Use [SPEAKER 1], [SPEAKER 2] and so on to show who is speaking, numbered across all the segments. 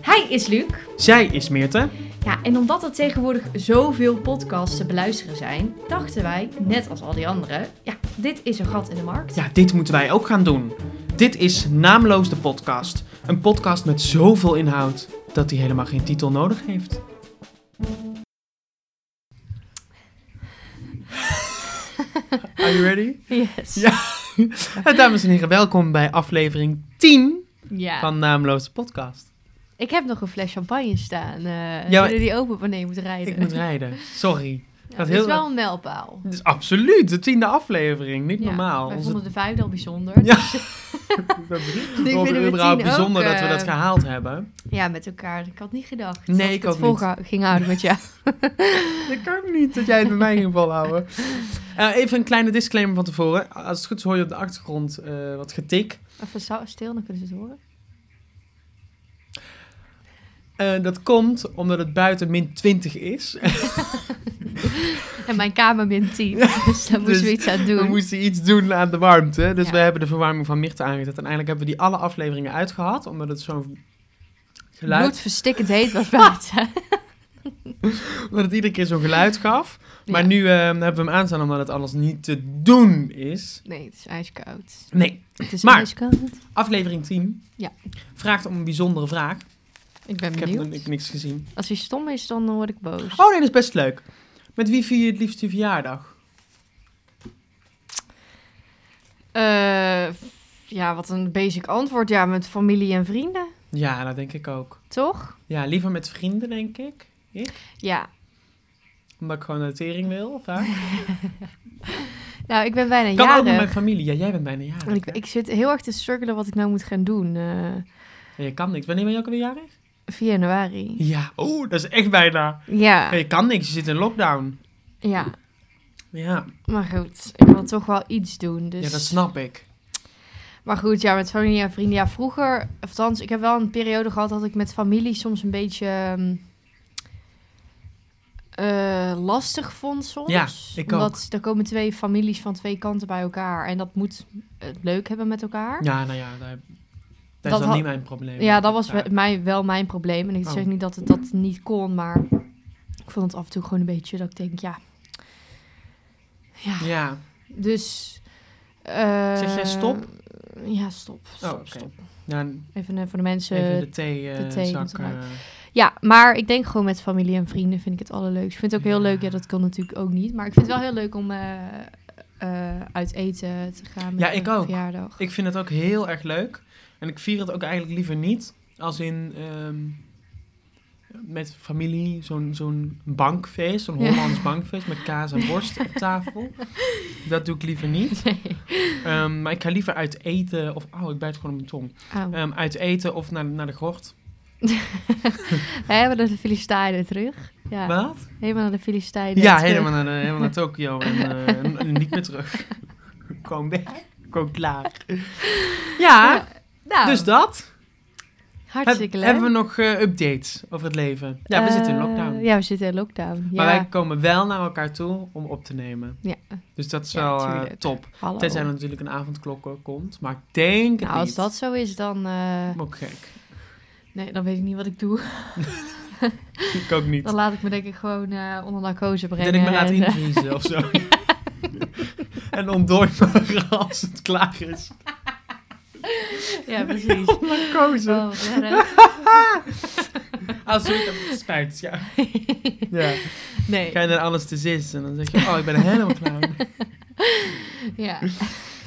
[SPEAKER 1] Hij is Luc.
[SPEAKER 2] Zij is Meerte.
[SPEAKER 1] Ja, en omdat er tegenwoordig zoveel podcasts te beluisteren zijn, dachten wij, net als al die anderen, ja, dit is een gat in de markt.
[SPEAKER 2] Ja, dit moeten wij ook gaan doen. Dit is Naamloos de Podcast. Een podcast met zoveel inhoud dat hij helemaal geen titel nodig heeft. Are you ready?
[SPEAKER 1] Yes.
[SPEAKER 2] Ja. Eh, Dames en heren, welkom bij aflevering 10
[SPEAKER 1] Ja.
[SPEAKER 2] van Naamloos de Podcast.
[SPEAKER 1] Ik heb nog een fles champagne staan. Uh,
[SPEAKER 2] Ja, maar-
[SPEAKER 1] die open wanneer je moet rijden?
[SPEAKER 2] Ik moet rijden, sorry.
[SPEAKER 1] Ja,
[SPEAKER 2] dat
[SPEAKER 1] dit
[SPEAKER 2] heel-
[SPEAKER 1] is wel een mijlpaal.
[SPEAKER 2] Dit is absoluut de tiende aflevering, niet
[SPEAKER 1] Ja,
[SPEAKER 2] normaal.
[SPEAKER 1] Wij
[SPEAKER 2] Onze-
[SPEAKER 1] vonden de vijfde al bijzonder.
[SPEAKER 2] Ja.
[SPEAKER 1] vinden
[SPEAKER 2] Robert,
[SPEAKER 1] we
[SPEAKER 2] überhaupt
[SPEAKER 1] tien ook,
[SPEAKER 2] bijzonder dat we
[SPEAKER 1] eh,
[SPEAKER 2] dat gehaald hebben.
[SPEAKER 1] Ja, met elkaar. Ik had niet gedacht.
[SPEAKER 2] Nee,
[SPEAKER 1] dat
[SPEAKER 2] ik
[SPEAKER 1] het
[SPEAKER 2] ook
[SPEAKER 1] vol
[SPEAKER 2] niet.
[SPEAKER 1] ga- ging houden met jou.
[SPEAKER 2] Dat kan ook niet, dat jij het bij mij ging volhouden. Eh, even een kleine disclaimer van tevoren. Als het goed is hoor je op de achtergrond eh, wat getik.
[SPEAKER 1] Even zo- stil, dan kunnen ze het horen.
[SPEAKER 2] Eh, dat komt omdat het buiten min 20 is.
[SPEAKER 1] En mijn kamer min 10. Dus daar moesten we
[SPEAKER 2] Dus
[SPEAKER 1] iets aan
[SPEAKER 2] we
[SPEAKER 1] doen.
[SPEAKER 2] moesten iets doen aan de warmte. Dus
[SPEAKER 1] Ja.
[SPEAKER 2] we hebben de verwarming van Mirte aangezet. En eigenlijk hebben we die alle afleveringen uitgehad. Omdat het zo'n geluid...
[SPEAKER 1] Bloedverstikkend heet was buiten.
[SPEAKER 2] Omdat het iedere keer zo'n geluid gaf. Maar
[SPEAKER 1] Ja.
[SPEAKER 2] nu eh, hebben we hem aanstaan omdat het alles niet te doen is.
[SPEAKER 1] Nee, het is ijskoud.
[SPEAKER 2] Nee,
[SPEAKER 1] Het is
[SPEAKER 2] Maar-
[SPEAKER 1] ijskoud.
[SPEAKER 2] aflevering 10.
[SPEAKER 1] Ja.
[SPEAKER 2] Vraagt om een bijzondere vraag.
[SPEAKER 1] Ik ben
[SPEAKER 2] Ik heb
[SPEAKER 1] benieuwd.
[SPEAKER 2] nog ik, niks gezien.
[SPEAKER 1] Als hij stom is, dan word ik boos.
[SPEAKER 2] Oh nee, dat is best leuk. Met wie vier je het liefst je verjaardag?
[SPEAKER 1] Eh, ja, wat een basic antwoord. Ja, met familie en vrienden,
[SPEAKER 2] Ja, dat denk ik ook.
[SPEAKER 1] toch?
[SPEAKER 2] Ja, liever met vrienden, denk ik. Ik?
[SPEAKER 1] Ja.
[SPEAKER 2] Omdat ik gewoon notering wil, vaak.
[SPEAKER 1] Nou, ik ben bijna
[SPEAKER 2] kan ook met
[SPEAKER 1] jarig.
[SPEAKER 2] mijn familie. Ja, jij bent bijna jarig.
[SPEAKER 1] En ik,
[SPEAKER 2] hè?
[SPEAKER 1] ik zit heel erg te struggelen wat ik nou moet gaan doen. eh
[SPEAKER 2] Ja, je kan niks. Wanneer ben je ook alweer jarig?
[SPEAKER 1] 4 januari.
[SPEAKER 2] Ja. Oeh, dat is echt bijna. Ja,
[SPEAKER 1] Ja,
[SPEAKER 2] je kan niks. Je zit in lockdown.
[SPEAKER 1] ja.
[SPEAKER 2] Ja,
[SPEAKER 1] Maar goed, ik wil toch wel iets doen. Dus...
[SPEAKER 2] ja dat snap ik.
[SPEAKER 1] Maar goed, ja, met familie en vrienden. Ja, vroeger, of althans, ik heb wel een periode gehad dat ik met familie soms een beetje ehm, eh, lastig vond soms.
[SPEAKER 2] Ja, ik ook.
[SPEAKER 1] Omdat er komen twee families van twee kanten bij elkaar. En dat moet het leuk hebben met elkaar.
[SPEAKER 2] Ja, nou ja, daar- dat,
[SPEAKER 1] had-
[SPEAKER 2] is dan niet mijn probleem.
[SPEAKER 1] Ja, dat was
[SPEAKER 2] Ja.
[SPEAKER 1] we- mij, wel mijn probleem. En ik
[SPEAKER 2] Oh.
[SPEAKER 1] zeg niet dat het dat niet kon, maar ik vond het af en toe gewoon een beetje dat ik denk, ja. Ja,
[SPEAKER 2] Ja. Oh,
[SPEAKER 1] dus... eh,
[SPEAKER 2] Zeg jij stop?
[SPEAKER 1] Ja, stop. stop,
[SPEAKER 2] Oh, oké.
[SPEAKER 1] stop.
[SPEAKER 2] ja
[SPEAKER 1] Even eh, voor de mensen
[SPEAKER 2] even de thee, eh
[SPEAKER 1] de thee
[SPEAKER 2] zak,
[SPEAKER 1] moet eruit.
[SPEAKER 2] eh,
[SPEAKER 1] Ja, maar ik denk gewoon met familie en vrienden vind ik het allerleukst. Ik vind het ook heel
[SPEAKER 2] Ja.
[SPEAKER 1] leuk, ja, dat kan natuurlijk ook niet. Maar ik vind het wel heel leuk om eh, eh, uit eten te gaan met
[SPEAKER 2] Ja, ik
[SPEAKER 1] een
[SPEAKER 2] ook.
[SPEAKER 1] verjaardag.
[SPEAKER 2] Ik vind het ook heel erg leuk. En ik vier het ook eigenlijk liever niet. Als in ehm, met familie, zo'n zo'n bankfeest, zo'n
[SPEAKER 1] Ja.
[SPEAKER 2] Hollands bankfeest met kaas en worst op tafel. Dat doe ik liever niet. Ehm, maar ik ga liever uit eten of. Oh, ik bijt gewoon op mijn tong.
[SPEAKER 1] Oh.
[SPEAKER 2] Ehm, uit eten of naar, naar de gort.
[SPEAKER 1] We hebben naar de Filistijnen terug. Ja,
[SPEAKER 2] Wat?
[SPEAKER 1] helemaal naar de Filistijnen
[SPEAKER 2] Ja,
[SPEAKER 1] terug.
[SPEAKER 2] helemaal naar, de- helemaal naar Tokio en, eh, en- en niet meer terug. Gewoon weg. Gewoon klaar. Ja,
[SPEAKER 1] Ja, nou,
[SPEAKER 2] dus dat.
[SPEAKER 1] hartstikke
[SPEAKER 2] Heb-
[SPEAKER 1] leuk.
[SPEAKER 2] Hebben we nog eh, updates over het leven? Ja, we
[SPEAKER 1] Eh,
[SPEAKER 2] zitten in lockdown.
[SPEAKER 1] Ja, we zitten in lockdown.
[SPEAKER 2] Maar
[SPEAKER 1] ja,
[SPEAKER 2] wij komen wel naar elkaar toe om op te nemen.
[SPEAKER 1] Ja.
[SPEAKER 2] Dus dat is
[SPEAKER 1] Ja,
[SPEAKER 2] wel eh,
[SPEAKER 1] tuurlijk.
[SPEAKER 2] top.
[SPEAKER 1] hallo.
[SPEAKER 2] Tenzij er natuurlijk een avondklok eh, komt. Maar ik denk het
[SPEAKER 1] Nou, als
[SPEAKER 2] niet.
[SPEAKER 1] dat zo is, dan, eh,
[SPEAKER 2] Ook gek.
[SPEAKER 1] nee, dan weet ik niet wat ik doe.
[SPEAKER 2] Ik ook niet.
[SPEAKER 1] Dan laat ik me denk ik gewoon eh, onder narcose brengen.
[SPEAKER 2] Dat ik me laat
[SPEAKER 1] en, eh,
[SPEAKER 2] invriezen of zo. en ontdooibaar als het klaar is.
[SPEAKER 1] eh, ja, precies.
[SPEAKER 2] Maar kozen. Ah,
[SPEAKER 1] Oh, wat erg. Oh.
[SPEAKER 2] Als het spijt, ja. ja.
[SPEAKER 1] Nee.
[SPEAKER 2] Ga je naar alles te zitten en dan zeg je, oh, ik ben er helemaal klaar mee.
[SPEAKER 1] Ja,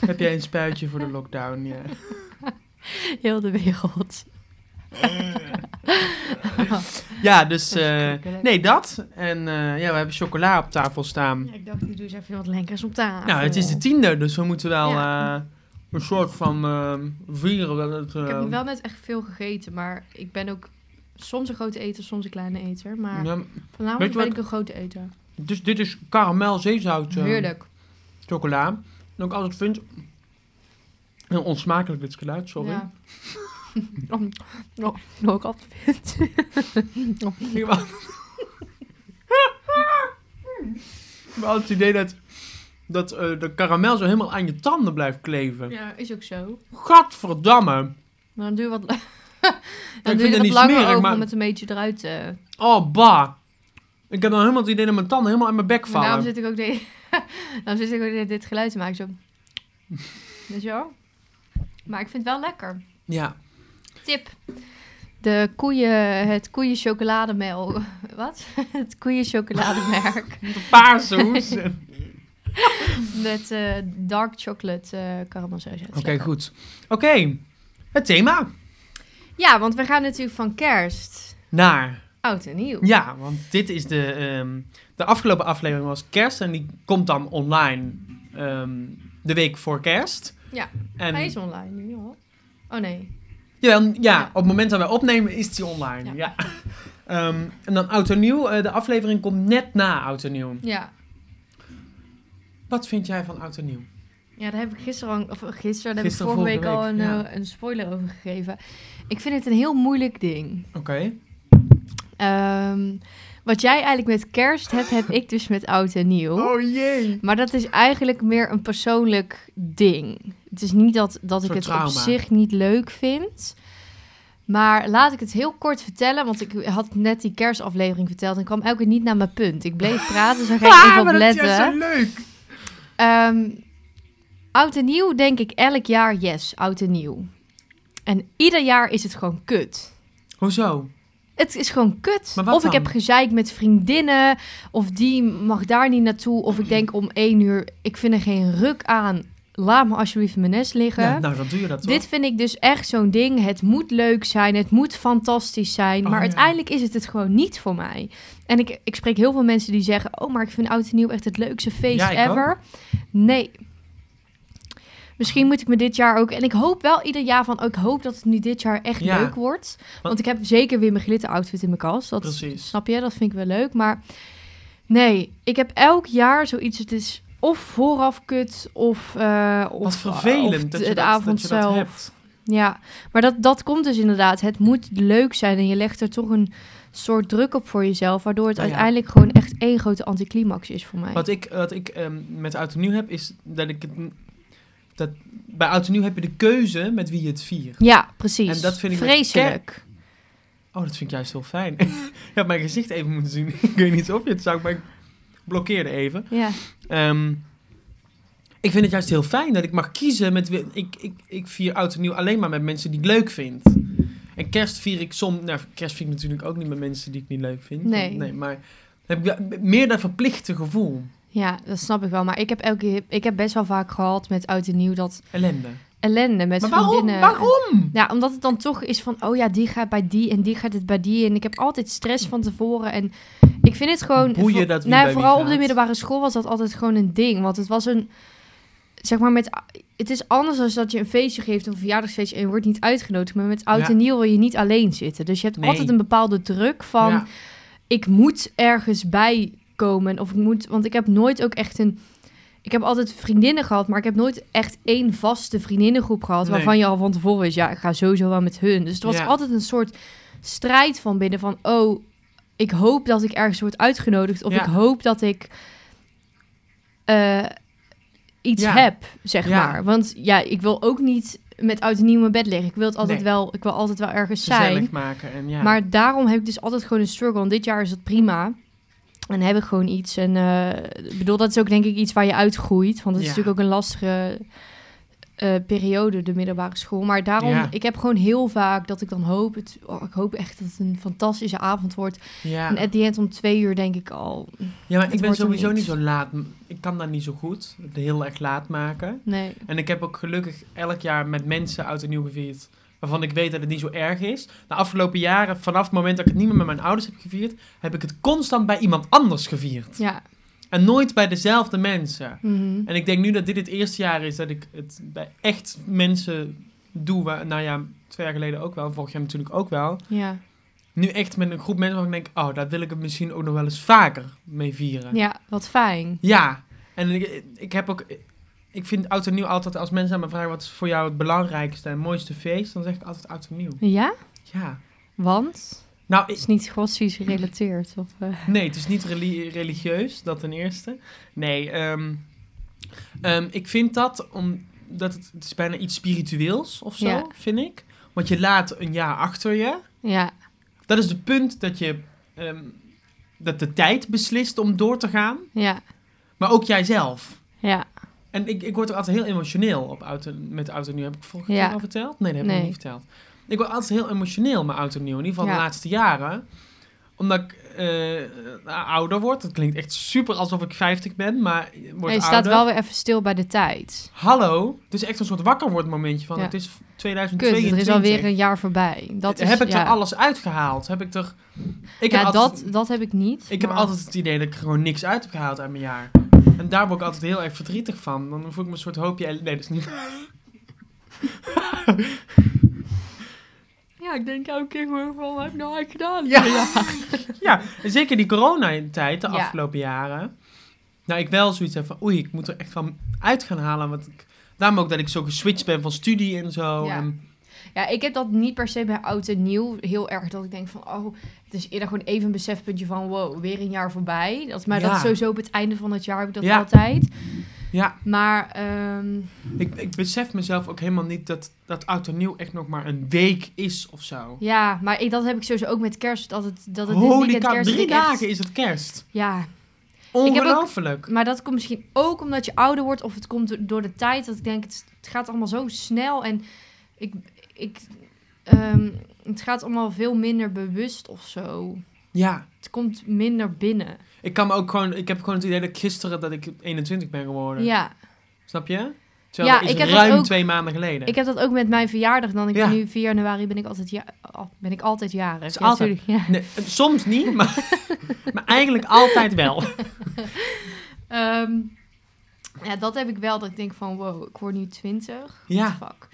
[SPEAKER 2] Heb jij een spuitje voor de lockdown? Ja.
[SPEAKER 1] heel de wereld.
[SPEAKER 2] Ja, dus. eh,
[SPEAKER 1] Verschrikkelijk.
[SPEAKER 2] nee, dat. En eh, ja, we hebben chocola op tafel staan.
[SPEAKER 1] ik dacht, ik doe eens even wat lekkers op tafel.
[SPEAKER 2] Nou, het is de tiende, dus we moeten wel
[SPEAKER 1] Ja.
[SPEAKER 2] eh, een soort van eh, vieren. Dat het, eh,
[SPEAKER 1] Ik heb wel net echt veel gegeten, maar ik ben ook soms een grote eter, soms een kleine eter. Maar
[SPEAKER 2] ja, weet
[SPEAKER 1] vanavond
[SPEAKER 2] je
[SPEAKER 1] ben
[SPEAKER 2] wat-
[SPEAKER 1] ik een grote eter.
[SPEAKER 2] dus dit is karamel zeezout eh,
[SPEAKER 1] Heerlijk.
[SPEAKER 2] chocola. En ook als het vindt. Heel onsmakelijk dit geluid, sorry.
[SPEAKER 1] Ja. Om- om- Nog ik altijd vind.
[SPEAKER 2] Ik heb al- Ik heb altijd het idee dat, dat eh, de karamel zo helemaal aan je tanden blijft kleven.
[SPEAKER 1] Ja, is ook zo.
[SPEAKER 2] Gadverdamme.
[SPEAKER 1] Maar dan doe je wat...
[SPEAKER 2] ik
[SPEAKER 1] Dan
[SPEAKER 2] vind
[SPEAKER 1] duurt
[SPEAKER 2] het
[SPEAKER 1] het
[SPEAKER 2] niet
[SPEAKER 1] langer
[SPEAKER 2] smerig,
[SPEAKER 1] over
[SPEAKER 2] maar-
[SPEAKER 1] om het een beetje eruit te...
[SPEAKER 2] Oh, bah. Ik heb dan helemaal het idee dat mijn tanden helemaal in mijn bek
[SPEAKER 1] Maar daarom
[SPEAKER 2] vallen.
[SPEAKER 1] zit ik ook de... daarom zit ik ook de- dit geluid te maken. Zo. Weet je wel? Maar ik vind het wel lekker.
[SPEAKER 2] Ja.
[SPEAKER 1] Tip. De koeien, het koeien chocolademel. Wat? Het koeien chocolademerk.
[SPEAKER 2] Paarse hoes. Oké,
[SPEAKER 1] Met eh, dark chocolate eh karamelsaus. Oké,
[SPEAKER 2] goed. Oké, het thema.
[SPEAKER 1] Ja, want we gaan natuurlijk van kerst.
[SPEAKER 2] Naar.
[SPEAKER 1] Oud en nieuw.
[SPEAKER 2] Ja, want dit is de... ehm, de afgelopen aflevering was kerst en die komt dan online ehm, de week voor kerst.
[SPEAKER 1] Ja,
[SPEAKER 2] en,
[SPEAKER 1] Hij is online nu hoor. Oh nee.
[SPEAKER 2] Jawel, ja,
[SPEAKER 1] Ja.
[SPEAKER 2] op het moment dat wij opnemen is die online. Ja. Ehm, en dan Oud en Nieuw. eh, de aflevering komt net na Oud en Nieuw.
[SPEAKER 1] Ja.
[SPEAKER 2] Wat vind jij van Oud en Nieuw?
[SPEAKER 1] Ja, daar heb ik gisteren, al- of gisteren, daar heb ik
[SPEAKER 2] Gisteren,
[SPEAKER 1] vorige, week,
[SPEAKER 2] vorige
[SPEAKER 1] al
[SPEAKER 2] week,
[SPEAKER 1] een,
[SPEAKER 2] ja.
[SPEAKER 1] eh, een spoiler over gegeven. Ik vind het een heel moeilijk ding.
[SPEAKER 2] Oké.
[SPEAKER 1] Ehm, wat jij eigenlijk met kerst hebt, heb ik dus met oud en nieuw.
[SPEAKER 2] Oh. jee.
[SPEAKER 1] Maar dat is eigenlijk meer een persoonlijk ding. Het is niet dat, dat ik
[SPEAKER 2] soort
[SPEAKER 1] het
[SPEAKER 2] trauma.
[SPEAKER 1] op zich niet leuk vind. Maar laat ik het heel kort vertellen, want ik had net die kerstaflevering verteld en kwam elke keer niet naar mijn punt. Ik bleef praten, dus daar
[SPEAKER 2] Ah,
[SPEAKER 1] ga ik even op letten.
[SPEAKER 2] leuk.
[SPEAKER 1] Ehm, oud en nieuw denk ik elk jaar yes, oud en nieuw. En ieder jaar is het gewoon kut.
[SPEAKER 2] Hoezo?
[SPEAKER 1] Het is gewoon kut.
[SPEAKER 2] Maar wat
[SPEAKER 1] of ik
[SPEAKER 2] dan?
[SPEAKER 1] heb gezeik met vriendinnen, of die mag daar niet naartoe. Of ik denk om één uur, ik vind er geen ruk aan. Laat me alsjeblieft in mijn nest liggen.
[SPEAKER 2] Ja, nou, dan doe je dat toch?
[SPEAKER 1] Dit vind ik dus echt zo'n ding. Het moet leuk zijn, het moet fantastisch zijn.
[SPEAKER 2] Oh,
[SPEAKER 1] maar
[SPEAKER 2] ja.
[SPEAKER 1] uiteindelijk is het het gewoon niet voor mij. En ik, ik spreek heel veel mensen die zeggen... Oh, maar ik vind Oud en Nieuw echt het leukste feest
[SPEAKER 2] Ja, ik
[SPEAKER 1] ever. Nee. Misschien moet ik me dit jaar ook... En ik hoop wel ieder jaar van... oh, ik hoop dat het nu dit jaar echt
[SPEAKER 2] Ja.
[SPEAKER 1] leuk wordt. Want ik heb zeker weer mijn glitter outfit in mijn kast. Dat
[SPEAKER 2] Precies.
[SPEAKER 1] snap je, dat vind ik wel leuk. Maar nee, ik heb elk jaar zoiets... Het is of vooraf kut, of... eh of
[SPEAKER 2] Wat vervelend
[SPEAKER 1] of
[SPEAKER 2] dat,
[SPEAKER 1] de,
[SPEAKER 2] je
[SPEAKER 1] de
[SPEAKER 2] dat,
[SPEAKER 1] avond
[SPEAKER 2] dat je dat
[SPEAKER 1] zelf.
[SPEAKER 2] hebt.
[SPEAKER 1] Ja, maar dat, dat komt dus inderdaad. Het moet leuk zijn en je legt er toch een soort druk op voor jezelf, waardoor het
[SPEAKER 2] Nou ja.
[SPEAKER 1] uiteindelijk gewoon echt één grote anticlimax is voor mij.
[SPEAKER 2] Wat ik, wat ik ehm, met Oud en Nieuw heb, is dat ik het... Dat, bij Oud en Nieuw heb je de keuze met wie je het viert.
[SPEAKER 1] Ja, precies.
[SPEAKER 2] En dat vind ik met
[SPEAKER 1] vreselijk.
[SPEAKER 2] Oh, dat vind ik juist heel fijn. je hebt mijn gezicht even moeten zien. ik weet niet of je het zag, maar ik blokkeerde even.
[SPEAKER 1] Ja,
[SPEAKER 2] Ehm, ik vind het juist heel fijn dat ik mag kiezen met... wie- Ik, ik, ik vier oud en nieuw alleen maar met mensen die ik leuk vind. En kerst vier ik soms... Nou, kerst vier ik natuurlijk ook niet met mensen die ik niet leuk vind.
[SPEAKER 1] Nee.
[SPEAKER 2] maar dan heb ik wel meer dat verplichte gevoel.
[SPEAKER 1] ja, dat snap ik wel. Maar ik heb elke keer- ik heb best wel vaak gehad met oud en nieuw dat
[SPEAKER 2] Ellende.
[SPEAKER 1] ellende met
[SPEAKER 2] maar waarom?
[SPEAKER 1] vriendinnen.
[SPEAKER 2] Waarom?
[SPEAKER 1] Ja, omdat het dan toch is van, oh ja, die gaat bij die en die gaat het bij die. En ik heb altijd stress van tevoren. En ik vind het gewoon...
[SPEAKER 2] Boeien
[SPEAKER 1] voor-
[SPEAKER 2] dat wie
[SPEAKER 1] nou,
[SPEAKER 2] bij wie
[SPEAKER 1] Vooral op
[SPEAKER 2] gaat.
[SPEAKER 1] de middelbare school was dat altijd gewoon een ding. Want het was een... Zeg maar met... Het is anders als dat je een feestje geeft, een verjaardagsfeestje, en je wordt niet uitgenodigd. Maar met oud
[SPEAKER 2] Ja.
[SPEAKER 1] en nieuw wil je niet alleen zitten. Dus je hebt
[SPEAKER 2] Nee.
[SPEAKER 1] altijd een bepaalde druk van,
[SPEAKER 2] Ja.
[SPEAKER 1] ik moet ergens bij komen. Of ik moet... Want ik heb nooit ook echt een... Ik heb altijd vriendinnen gehad, maar ik heb nooit echt één vaste vriendinnengroep gehad.
[SPEAKER 2] Nee.
[SPEAKER 1] Waarvan je al van tevoren wist, ja, ik ga sowieso wel met hun. Dus het was
[SPEAKER 2] Ja.
[SPEAKER 1] altijd een soort strijd van binnen van, oh, ik hoop dat ik ergens word uitgenodigd. Of
[SPEAKER 2] Ja.
[SPEAKER 1] ik hoop dat ik eh, iets
[SPEAKER 2] Ja.
[SPEAKER 1] heb, zeg
[SPEAKER 2] Ja.
[SPEAKER 1] maar. Want ja, ik wil ook niet met oud en nieuw in mijn bed liggen. Ik wil, het altijd
[SPEAKER 2] Nee.
[SPEAKER 1] wel, ik wil altijd wel ergens zijn.
[SPEAKER 2] Gezellig maken en ja.
[SPEAKER 1] Maar daarom heb ik dus altijd gewoon een struggle. En dit jaar is dat prima. En heb ik gewoon iets. En eh, ik bedoel, dat is ook denk ik iets waar je uitgroeit. Want het is
[SPEAKER 2] Ja.
[SPEAKER 1] natuurlijk ook een lastige eh, periode, de middelbare school. Maar daarom,
[SPEAKER 2] Ja.
[SPEAKER 1] ik heb gewoon heel vaak dat ik dan hoop... Het, oh, ik hoop echt dat het een fantastische avond wordt. En
[SPEAKER 2] ja.
[SPEAKER 1] at the end om twee uur denk ik al...
[SPEAKER 2] ja, maar
[SPEAKER 1] het
[SPEAKER 2] ik ben
[SPEAKER 1] wordt hem
[SPEAKER 2] sowieso
[SPEAKER 1] niet.
[SPEAKER 2] niet zo laat. Ik kan dat niet zo goed. Het heel erg laat maken.
[SPEAKER 1] Nee,
[SPEAKER 2] En ik heb ook gelukkig elk jaar met mensen oud en nieuw gevierd. Waarvan ik weet dat het niet zo erg is. De afgelopen jaren, vanaf het moment dat ik het niet meer met mijn ouders heb gevierd, heb ik het constant bij iemand anders gevierd.
[SPEAKER 1] ja.
[SPEAKER 2] En nooit bij dezelfde mensen.
[SPEAKER 1] Mhm.
[SPEAKER 2] En ik denk nu dat dit het eerste jaar is dat ik het bij echt mensen doe. Waar, nou ja, twee jaar geleden ook wel, vorig jaar natuurlijk ook wel.
[SPEAKER 1] Ja,
[SPEAKER 2] Nu echt met een groep mensen waarvan ik denk, oh, daar wil ik het misschien ook nog wel eens vaker mee vieren.
[SPEAKER 1] ja, wat fijn.
[SPEAKER 2] Ja, en ik, ik heb ook. Ik vind oud en nieuw altijd, als mensen aan me vragen wat is voor jou het belangrijkste en mooiste feest, dan zeg ik altijd oud en nieuw.
[SPEAKER 1] Ja?
[SPEAKER 2] Ja.
[SPEAKER 1] Want?
[SPEAKER 2] Nou,
[SPEAKER 1] Het
[SPEAKER 2] ik-
[SPEAKER 1] is niet godsdienst gerelateerd. Of, eh,
[SPEAKER 2] nee, het is niet reli- religieus, dat ten eerste. Nee, ehm, ehm, ik vind dat omdat het, het is bijna iets spiritueels of zo,
[SPEAKER 1] Ja.
[SPEAKER 2] vind ik. Want je laat een jaar achter je.
[SPEAKER 1] Ja.
[SPEAKER 2] Dat is het punt dat je ehm, dat de tijd beslist om door te gaan,
[SPEAKER 1] Ja.
[SPEAKER 2] maar ook jijzelf.
[SPEAKER 1] Ja.
[SPEAKER 2] En ik, ik word er altijd heel emotioneel op auto, met auto nu. Heb ik vorige
[SPEAKER 1] Ja.
[SPEAKER 2] keer al verteld? Nee, dat heb ik
[SPEAKER 1] Nee.
[SPEAKER 2] nog niet verteld. Ik word altijd heel emotioneel met auto nieuw, in ieder geval
[SPEAKER 1] Ja.
[SPEAKER 2] de laatste jaren omdat ik eh, ouder word. Dat klinkt echt super alsof ik 50 ben, maar ik word
[SPEAKER 1] je
[SPEAKER 2] ouder.
[SPEAKER 1] staat wel weer even stil bij de tijd.
[SPEAKER 2] Hallo. Het is echt een soort wakker word momentje van
[SPEAKER 1] Ja.
[SPEAKER 2] het is
[SPEAKER 1] Kut, dus
[SPEAKER 2] 2022.
[SPEAKER 1] er is alweer een jaar voorbij. Dat is,
[SPEAKER 2] heb ik
[SPEAKER 1] ja.
[SPEAKER 2] er alles uitgehaald? Heb ik er... Ik,
[SPEAKER 1] ja,
[SPEAKER 2] heb, altijd,
[SPEAKER 1] dat, dat heb ik niet.
[SPEAKER 2] ik
[SPEAKER 1] maar-
[SPEAKER 2] heb altijd het idee dat ik er gewoon niks uit heb gehaald uit mijn jaar. En daar word ik altijd heel erg verdrietig van. Dan voel ik me een soort hoopje... Nee, dat is niet...
[SPEAKER 1] Ja, ik denk elke keer gewoon van, wat heb ik nou eigenlijk gedaan?
[SPEAKER 2] Ja. Ja, en zeker die coronatijd de
[SPEAKER 1] Ja.
[SPEAKER 2] afgelopen jaren. Nou, ik wel zoiets heb van... Oei, ik moet er echt van uit gaan halen. Want ik, daarom ook dat ik zo geswitcht ben van studie en zo.
[SPEAKER 1] Ja.
[SPEAKER 2] En,
[SPEAKER 1] Ja, ik heb dat niet per se bij oud en nieuw heel erg. Dat ik denk van, oh, het is eerder gewoon even een besefpuntje van, wow, weer een jaar voorbij. Dat, maar dat
[SPEAKER 2] Ja.
[SPEAKER 1] is sowieso op het einde van het jaar heb ik dat
[SPEAKER 2] Ja.
[SPEAKER 1] altijd.
[SPEAKER 2] ja,
[SPEAKER 1] Maar ehm,
[SPEAKER 2] ik, ik besef mezelf ook helemaal niet dat, dat oud en nieuw echt nog maar een week is of zo.
[SPEAKER 1] ja, maar ik, dat heb ik sowieso ook met kerst. Dat het, dat het dit
[SPEAKER 2] Holy
[SPEAKER 1] weekend
[SPEAKER 2] cow,
[SPEAKER 1] kerst
[SPEAKER 2] drie
[SPEAKER 1] dat ik echt-
[SPEAKER 2] dagen is het kerst.
[SPEAKER 1] Ja, Ik heb ook-
[SPEAKER 2] Ongelooflijk.
[SPEAKER 1] maar dat komt misschien ook omdat je ouder wordt. Of het komt do- door de tijd. Dat ik denk, het, het gaat allemaal zo snel. En ik, ik, ehm, het gaat allemaal veel minder bewust of zo.
[SPEAKER 2] Ja,
[SPEAKER 1] Het komt minder binnen.
[SPEAKER 2] ik kan me ook gewoon... Ik heb gewoon het idee dat ik gisteren dat ik 21 ben geworden.
[SPEAKER 1] Ja.
[SPEAKER 2] Snap je? Terwijl
[SPEAKER 1] Ja,
[SPEAKER 2] dat is
[SPEAKER 1] ik heb dat
[SPEAKER 2] ruim
[SPEAKER 1] ook-
[SPEAKER 2] twee maanden geleden.
[SPEAKER 1] Ik heb dat ook met mijn verjaardag. Dan ik
[SPEAKER 2] Ja.
[SPEAKER 1] nu 4 januari ben ik altijd, ja, al- ben ik altijd jarig.
[SPEAKER 2] Is altijd.
[SPEAKER 1] natuurlijk, ja.
[SPEAKER 2] Nee, eh, soms niet, maar, maar eigenlijk altijd wel.
[SPEAKER 1] Ehm, ja, dat heb ik wel. Dat ik denk van, wow, ik word nu 20.
[SPEAKER 2] Ja.
[SPEAKER 1] Fuck.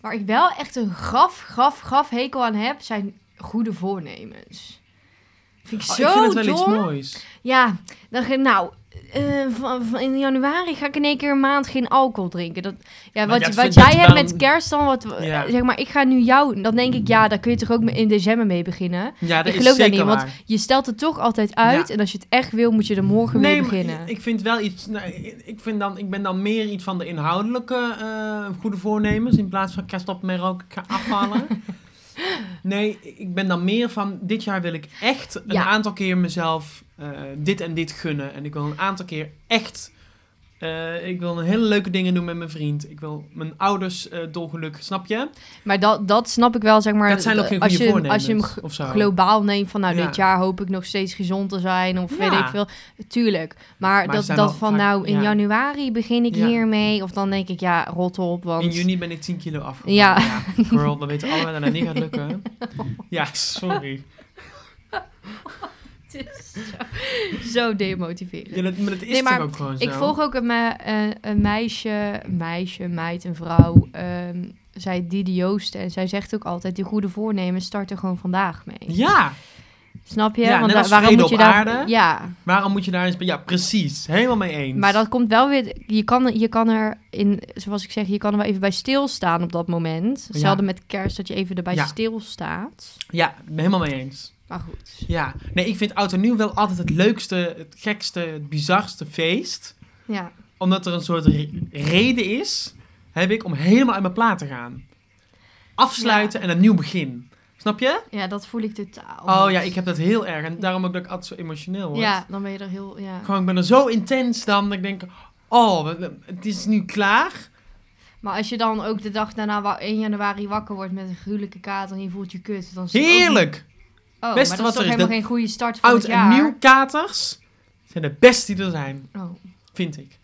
[SPEAKER 1] Waar ik wel echt een graf, graf, graf hekel aan heb, zijn goede voornemens. Vind ik
[SPEAKER 2] Oh,
[SPEAKER 1] zo
[SPEAKER 2] ik vind het wel iets
[SPEAKER 1] dom.
[SPEAKER 2] moois.
[SPEAKER 1] Ja, dan ga ik- nou, eh, van, van- in januari ga ik in één keer een maand geen alcohol drinken. Dat, ja,
[SPEAKER 2] Maar
[SPEAKER 1] wat,
[SPEAKER 2] dat
[SPEAKER 1] wat
[SPEAKER 2] vind-
[SPEAKER 1] jij
[SPEAKER 2] dat
[SPEAKER 1] hebt
[SPEAKER 2] wel-
[SPEAKER 1] met kerst dan, wat, eh,
[SPEAKER 2] Ja.
[SPEAKER 1] zeg maar, ik ga nu jou, dan denk ik, ja, daar kun je toch ook in december mee beginnen.
[SPEAKER 2] Ja,
[SPEAKER 1] Ik
[SPEAKER 2] dat is
[SPEAKER 1] geloof dat
[SPEAKER 2] zeker
[SPEAKER 1] niet, want
[SPEAKER 2] waar.
[SPEAKER 1] Je stelt het toch altijd uit. En als je het echt wil, moet je er morgen
[SPEAKER 2] Nee,
[SPEAKER 1] mee
[SPEAKER 2] maar
[SPEAKER 1] beginnen.
[SPEAKER 2] ik- ik vind wel iets... nou, ik- ik, vind dan, ik ben dan meer iets van de inhoudelijke eh, goede voornemens... in plaats van kerst op mijn rook, ik ga afvallen. nee, ik ben dan meer van... dit jaar wil ik echt een
[SPEAKER 1] Ja.
[SPEAKER 2] aantal keer mezelf eh, dit en dit gunnen. En ik wil een aantal keer echt... eh, ik wil hele leuke dingen doen met mijn vriend. Ik wil mijn ouders eh dolgeluk, snap je?
[SPEAKER 1] Maar dat, dat snap ik wel, zeg maar. eh,
[SPEAKER 2] dat zijn ook geen
[SPEAKER 1] als
[SPEAKER 2] goede
[SPEAKER 1] je,
[SPEAKER 2] voornemens.
[SPEAKER 1] Als je hem g-
[SPEAKER 2] of zo.
[SPEAKER 1] globaal neemt van, nou,
[SPEAKER 2] Ja.
[SPEAKER 1] dit jaar hoop ik nog steeds gezond te zijn. Of weet
[SPEAKER 2] Ja.
[SPEAKER 1] ik veel. Tuurlijk. Maar,
[SPEAKER 2] Maar ze
[SPEAKER 1] dat,
[SPEAKER 2] zijn
[SPEAKER 1] dat
[SPEAKER 2] wel
[SPEAKER 1] van,
[SPEAKER 2] vaak-
[SPEAKER 1] nou, in
[SPEAKER 2] ja.
[SPEAKER 1] januari begin ik
[SPEAKER 2] Ja.
[SPEAKER 1] hiermee. Of dan denk ik, ja, rot op. Want...
[SPEAKER 2] In juni ben ik 10 kilo afgevallen.
[SPEAKER 1] Ja.
[SPEAKER 2] Ja. Girl, we weten allemaal dat dat niet gaat lukken. Ja, sorry.
[SPEAKER 1] Het is zo, zo demotiverend.
[SPEAKER 2] Ja, dat, maar dat is
[SPEAKER 1] Nee, maar
[SPEAKER 2] toch ook gewoon zo?
[SPEAKER 1] Ik volg ook een, me- een- een meisje, een meisje, een meid, een vrouw. ehm, zij Didi Joost. En zij zegt ook altijd, die goede voornemens starten gewoon vandaag mee.
[SPEAKER 2] Ja,
[SPEAKER 1] Snap je?
[SPEAKER 2] Ja, net
[SPEAKER 1] wa-
[SPEAKER 2] als vrede op
[SPEAKER 1] daar...
[SPEAKER 2] aarde.
[SPEAKER 1] Ja,
[SPEAKER 2] waarom moet je daar eens... bij- Ja, precies. Helemaal mee eens.
[SPEAKER 1] maar dat komt wel weer... Je kan, je kan er, in, zoals ik zeg, je kan er wel even bij stilstaan op dat moment. Hetzelfde met kerst, dat je even erbij
[SPEAKER 2] Ja.
[SPEAKER 1] stilstaat.
[SPEAKER 2] Ja, ik ben helemaal mee eens.
[SPEAKER 1] Maar goed.
[SPEAKER 2] Ja. Nee, ik vind oud en nieuw wel altijd het leukste, het gekste, het bizarste feest.
[SPEAKER 1] Ja,
[SPEAKER 2] Omdat er een soort re- reden is, heb ik, om helemaal uit mijn plaat te gaan. Afsluiten en een nieuw begin. Snap je?
[SPEAKER 1] ja dat voel ik totaal.
[SPEAKER 2] Oh
[SPEAKER 1] niet.
[SPEAKER 2] ja, ik heb dat heel erg. En daarom ook dat ik altijd zo emotioneel word.
[SPEAKER 1] Ja, dan ben je er heel... Ja.
[SPEAKER 2] Gewoon, ik ben er zo intens dan dat ik denk, oh, we- we- het is nu klaar.
[SPEAKER 1] Maar als je dan ook de dag daarna wa- 1 januari wakker wordt met een gruwelijke kaart en je voelt je kut, dan is het ook niet-
[SPEAKER 2] Heerlijk.
[SPEAKER 1] Oh,
[SPEAKER 2] Beste
[SPEAKER 1] maar dat is
[SPEAKER 2] wat
[SPEAKER 1] toch
[SPEAKER 2] er is,
[SPEAKER 1] helemaal
[SPEAKER 2] dat-
[SPEAKER 1] geen goede start van
[SPEAKER 2] Oud
[SPEAKER 1] het jaar.
[SPEAKER 2] en nieuw katers zijn de beste die er zijn,
[SPEAKER 1] Oh. Nou
[SPEAKER 2] vind ik.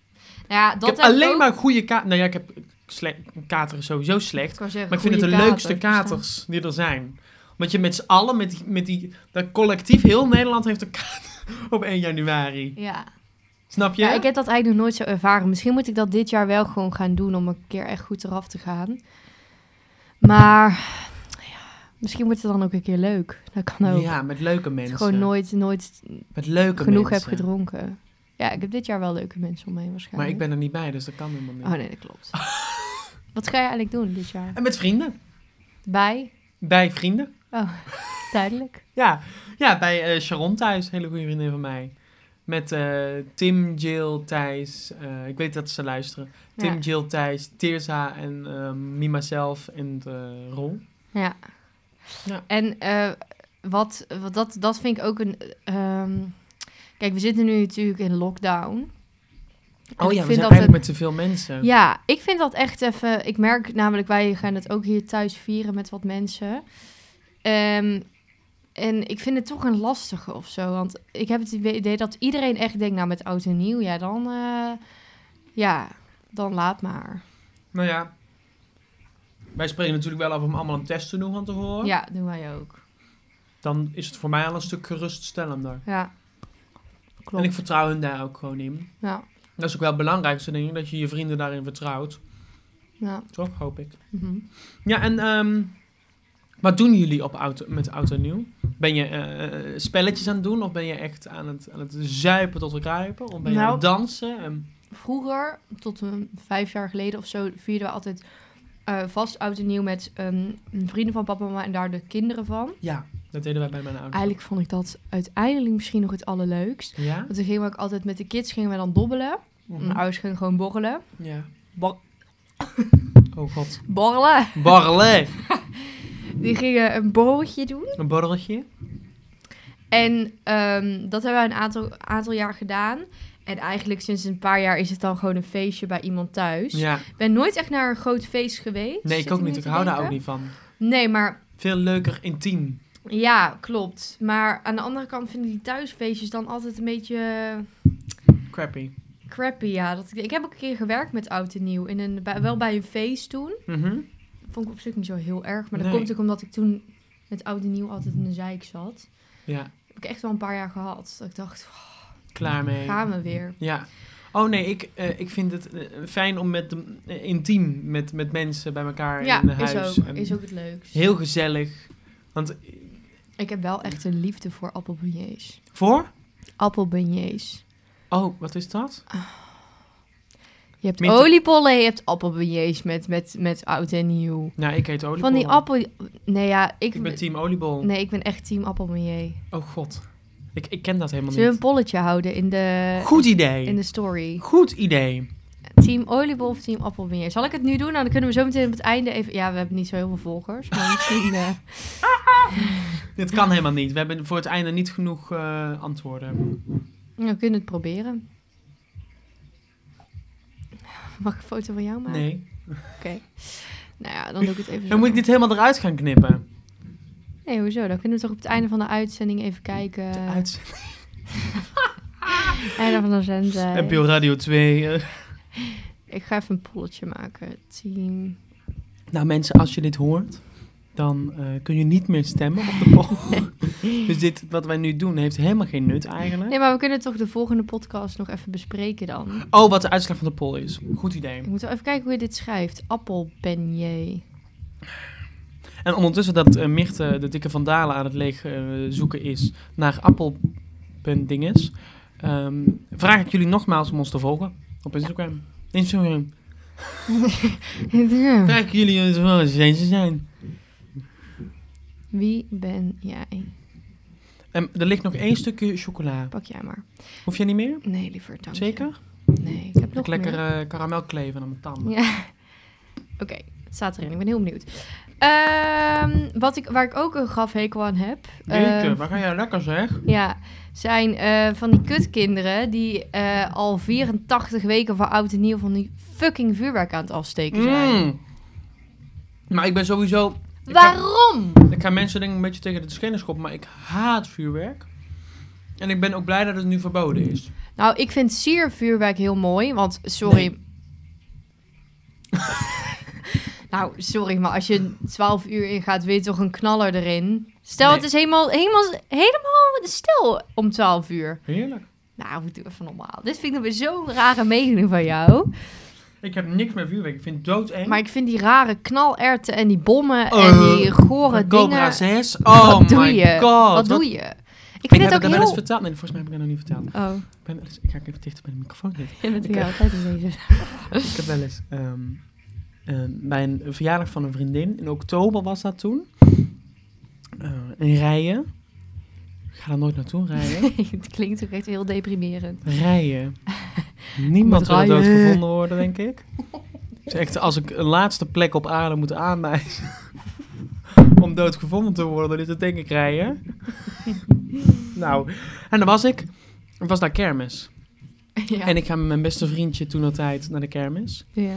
[SPEAKER 1] ja, dat
[SPEAKER 2] ik heb alleen
[SPEAKER 1] ook-
[SPEAKER 2] maar goede katers. Nou ja, ik heb sle- kater is sowieso slecht.
[SPEAKER 1] wou zeggen,
[SPEAKER 2] Maar ik vind het de
[SPEAKER 1] goede
[SPEAKER 2] leukste katers die er zijn. Want je met z'n allen, met die, met die dat collectief, heel Nederland heeft een kater op 1 januari.
[SPEAKER 1] Ja.
[SPEAKER 2] Snap je?
[SPEAKER 1] ja, ik heb dat eigenlijk nog nooit zo ervaren. Misschien moet ik dat dit jaar wel gewoon gaan doen om een keer echt goed eraf te gaan. Maar ja, misschien wordt het dan ook een keer leuk. Dat kan ook.
[SPEAKER 2] Ja, met leuke
[SPEAKER 1] Als
[SPEAKER 2] mensen.
[SPEAKER 1] ik gewoon nooit, nooit
[SPEAKER 2] met leuke
[SPEAKER 1] genoeg heb
[SPEAKER 2] mensen.
[SPEAKER 1] gedronken. Ja, ik heb dit jaar wel leuke mensen om me heen
[SPEAKER 2] Maar
[SPEAKER 1] waarschijnlijk.
[SPEAKER 2] ik ben er niet bij, dus dat kan helemaal niet.
[SPEAKER 1] Oh nee, dat klopt. Wat ga je eigenlijk doen dit jaar?
[SPEAKER 2] En met vrienden.
[SPEAKER 1] Bij?
[SPEAKER 2] Bij vrienden.
[SPEAKER 1] Oh, duidelijk.
[SPEAKER 2] Ja, ja bij eh, Sharon thuis, hele goede vriendin van mij. Met eh, Tim, Jill, Thijs. eh, ik weet dat ze luisteren. Tim,
[SPEAKER 1] Ja.
[SPEAKER 2] ehm, Jill, Thijs, Teerza en eh Mima zelf en eh Rol.
[SPEAKER 1] Ja.
[SPEAKER 2] Ja.
[SPEAKER 1] En eh, wat, wat dat, dat vind ik ook een. ehm, kijk, we zitten nu natuurlijk in lockdown. En
[SPEAKER 2] Oh
[SPEAKER 1] ik
[SPEAKER 2] ja,
[SPEAKER 1] vind
[SPEAKER 2] we zijn
[SPEAKER 1] dat
[SPEAKER 2] eigenlijk
[SPEAKER 1] het-
[SPEAKER 2] met te veel mensen.
[SPEAKER 1] Ja, ik vind dat echt even. Ik merk namelijk, wij gaan het ook hier thuis vieren met wat mensen. Ehm, en ik vind het toch een lastige of zo. Want ik heb het idee dat iedereen echt denkt, nou met oud en nieuw, ja dan, eh, ja, dan laat maar.
[SPEAKER 2] Nou ja, wij spreken natuurlijk wel af om allemaal een test te doen van tevoren.
[SPEAKER 1] Ja, doen wij ook.
[SPEAKER 2] Dan is het voor mij al een stuk geruststellender.
[SPEAKER 1] Ja,
[SPEAKER 2] En ik
[SPEAKER 1] klopt.
[SPEAKER 2] vertrouw hen daar ook gewoon in.
[SPEAKER 1] Ja,
[SPEAKER 2] Dat is ook wel het belangrijkste, denk ik, dat je je vrienden daarin vertrouwt.
[SPEAKER 1] ja.
[SPEAKER 2] Toch, hoop ik.
[SPEAKER 1] mhm.
[SPEAKER 2] Ja, en ehm, wat doen jullie op auto, met Oud en Nieuw? Ben je eh, spelletjes aan het doen? Of ben je echt aan het, aan het zuipen tot ruipen? Of ben je
[SPEAKER 1] Nou.
[SPEAKER 2] aan het dansen? Ehm, En,
[SPEAKER 1] vroeger, tot een vijf jaar geleden of zo, vierden we altijd eh, vast oud en nieuw met ehm, vrienden van papa en mama en daar de kinderen van.
[SPEAKER 2] ja, dat deden wij bij mijn ouders.
[SPEAKER 1] Eigenlijk vond ik dat uiteindelijk misschien nog het allerleukst.
[SPEAKER 2] Ja?
[SPEAKER 1] Want toen gingen we ook altijd met de kids gingen we dan dobbelen. Mijn
[SPEAKER 2] Mhm.
[SPEAKER 1] ouders gingen gewoon borrelen.
[SPEAKER 2] Ja.
[SPEAKER 1] Bor-
[SPEAKER 2] Oh god.
[SPEAKER 1] borrelen!
[SPEAKER 2] Barrelé!
[SPEAKER 1] Die gingen een borreltje doen.
[SPEAKER 2] Een borreltje?
[SPEAKER 1] En ehm, dat hebben we een aantal, aantal jaar gedaan. En eigenlijk sinds een paar jaar is het dan gewoon een feestje bij iemand thuis. Ik
[SPEAKER 2] Ja.
[SPEAKER 1] ben nooit echt naar een groot feest geweest.
[SPEAKER 2] Nee,
[SPEAKER 1] Zit
[SPEAKER 2] ik ook
[SPEAKER 1] nu
[SPEAKER 2] niet. Ik
[SPEAKER 1] te
[SPEAKER 2] hou daar ook
[SPEAKER 1] denken.
[SPEAKER 2] niet van.
[SPEAKER 1] Nee, maar
[SPEAKER 2] Veel leuker intiem.
[SPEAKER 1] Ja, klopt. Maar aan de andere kant vinden die thuisfeestjes dan altijd een beetje eh,
[SPEAKER 2] Crappy.
[SPEAKER 1] crappy. Ja. Dat, ik ik heb ook een keer gewerkt met oud en nieuw. In een, bij- wel bij een feest toen.
[SPEAKER 2] Mhm.
[SPEAKER 1] Vond ik op zich niet zo heel erg. Maar dat
[SPEAKER 2] Nee.
[SPEAKER 1] komt ook omdat ik toen met oud en nieuw altijd in de zeik zat.
[SPEAKER 2] Ja,
[SPEAKER 1] Heb ik echt wel een paar jaar gehad. Dat ik dacht, "Oh,
[SPEAKER 2] klaar mee.
[SPEAKER 1] gaan we weer.
[SPEAKER 2] Ja. Oh nee, ik, eh, ik vind het eh, fijn om met de, eh, intiem met, met mensen bij elkaar
[SPEAKER 1] Ja,
[SPEAKER 2] in
[SPEAKER 1] is
[SPEAKER 2] huis.
[SPEAKER 1] ook,
[SPEAKER 2] En
[SPEAKER 1] is ook het leukst.
[SPEAKER 2] Heel gezellig. Want eh,
[SPEAKER 1] Ik heb wel echt een liefde voor appelbeignets.
[SPEAKER 2] voor?
[SPEAKER 1] Appelbeignets.
[SPEAKER 2] Oh, wat is dat?
[SPEAKER 1] Je hebt
[SPEAKER 2] Minter-
[SPEAKER 1] oliebollen, je hebt appelbeignets met, met, met oud en nieuw.
[SPEAKER 2] Nou, ik heet oliebol.
[SPEAKER 1] Van die appel... Nee, ja, ik...
[SPEAKER 2] Ik ben team oliebol.
[SPEAKER 1] Nee, ik ben echt team appelmeier.
[SPEAKER 2] Oh god. Ik, ik ken dat helemaal
[SPEAKER 1] Zullen we een
[SPEAKER 2] niet.
[SPEAKER 1] polletje houden in de,
[SPEAKER 2] Goed idee.
[SPEAKER 1] in de story?
[SPEAKER 2] Goed idee.
[SPEAKER 1] Team oliebol of team appelmeier? Zal ik het nu doen? Nou, dan kunnen we zo meteen op het einde even... Ja, we hebben niet zo heel veel volgers, maar misschien... eh,
[SPEAKER 2] Dit kan helemaal niet. We hebben voor het einde niet genoeg eh, antwoorden.
[SPEAKER 1] we kunnen het proberen. Mag ik een foto van jou maken?
[SPEAKER 2] Nee.
[SPEAKER 1] Oké. Nou ja, dan doe ik het even zo.
[SPEAKER 2] Dan moet ik dit helemaal eruit gaan knippen.
[SPEAKER 1] Nee, hoezo? Dan kunnen we toch op het einde van de uitzending even kijken.
[SPEAKER 2] De uitz-
[SPEAKER 1] Einde van de zendtijd.
[SPEAKER 2] NPO Radio 2. eh.
[SPEAKER 1] Ik ga even een polletje maken. Team...
[SPEAKER 2] Nou mensen, als je dit hoort, dan eh, kun je niet meer stemmen op de poll. dus dit wat wij nu doen heeft helemaal geen nut eigenlijk.
[SPEAKER 1] Nee, maar we kunnen toch de volgende podcast nog even bespreken dan?
[SPEAKER 2] Oh, wat de uitslag van de poll is. Goed idee.
[SPEAKER 1] Ik moet wel even kijken hoe je dit schrijft. Appelbeignet.
[SPEAKER 2] En ondertussen dat eh Mirte, de dikke vandalen, aan het leeg eh, zoeken is naar appelpendinges, ehm vraag ik jullie nogmaals om ons te volgen op Instagram. Instagram. Vraag ik jullie eens wel eens eens te zijn.
[SPEAKER 1] Wie ben jij?
[SPEAKER 2] En Ehm, er ligt nog één stukje chocola.
[SPEAKER 1] Pak jij maar.
[SPEAKER 2] Hoef jij niet meer?
[SPEAKER 1] Nee, liever dank je.
[SPEAKER 2] Zeker?
[SPEAKER 1] Nee, ik heb
[SPEAKER 2] Nog
[SPEAKER 1] nog
[SPEAKER 2] lekker
[SPEAKER 1] meer.
[SPEAKER 2] eh, karamel kleven aan mijn tanden.
[SPEAKER 1] Ja. Oké, het staat erin. Ik ben heel benieuwd. Ehm, wat ik, waar ik ook een graf hekel aan heb...
[SPEAKER 2] Jeetje,
[SPEAKER 1] ehm,
[SPEAKER 2] waar ga jij lekker zeg?
[SPEAKER 1] Ja, zijn eh, van die kutkinderen die eh, al 84 weken voor oud en nieuw van die fucking vuurwerk aan het afsteken zijn.
[SPEAKER 2] Mm. Maar ik ben sowieso... ik ga-
[SPEAKER 1] Waarom?
[SPEAKER 2] Ik ga mensen denk ik een beetje tegen de schenen schoppen, maar ik haat vuurwerk. En ik ben ook blij dat het nu verboden is.
[SPEAKER 1] Nou, ik vind siervuurwerk heel mooi, want sorry. nou, sorry, maar als je 12 uur ingaat, wil je toch een knaller erin? Stel,
[SPEAKER 2] Nee.
[SPEAKER 1] het is helemaal, helemaal, helemaal stil om 12 uur.
[SPEAKER 2] Heerlijk.
[SPEAKER 1] Nou, doe even normaal. Dit vind ik weer zo'n rare mening van jou.
[SPEAKER 2] Ik heb niks met vuurwerk. Ik vind het doodeng.
[SPEAKER 1] Maar ik vind die rare knalerten en die bommen en
[SPEAKER 2] Eh,
[SPEAKER 1] die gore
[SPEAKER 2] Cobra
[SPEAKER 1] dingen.
[SPEAKER 2] 6. Oh
[SPEAKER 1] wat doe
[SPEAKER 2] my
[SPEAKER 1] je?
[SPEAKER 2] god.
[SPEAKER 1] wat doe je? Ik vind
[SPEAKER 2] heb
[SPEAKER 1] het ook
[SPEAKER 2] dat wel eens
[SPEAKER 1] heel...
[SPEAKER 2] verteld. Nee, volgens mij heb ik dat nog niet verteld.
[SPEAKER 1] Oh,
[SPEAKER 2] Ik, ben wel eens- ik ga even dichter bij de microfoon zitten.
[SPEAKER 1] ik ben
[SPEAKER 2] Ik-
[SPEAKER 1] het altijd in deze.
[SPEAKER 2] Ik heb wel eens ehm, ehm, bij een verjaardag van een vriendin, in oktober was dat toen, eh, een rijen. Ik ga daar nooit naartoe rijden.
[SPEAKER 1] het klinkt ook echt heel deprimerend.
[SPEAKER 2] Rijen. Niemand
[SPEAKER 1] Moet
[SPEAKER 2] wil
[SPEAKER 1] rijden.
[SPEAKER 2] doodgevonden worden, denk ik. Het is echt, als ik een laatste plek op aarde moet aanwijzen om dood gevonden te worden door dit te denken krijgen. nou, en daar was ik. Het was daar kermis.
[SPEAKER 1] ja.
[SPEAKER 2] En ik ga met mijn beste vriendje toen altijd naar de kermis.
[SPEAKER 1] ja.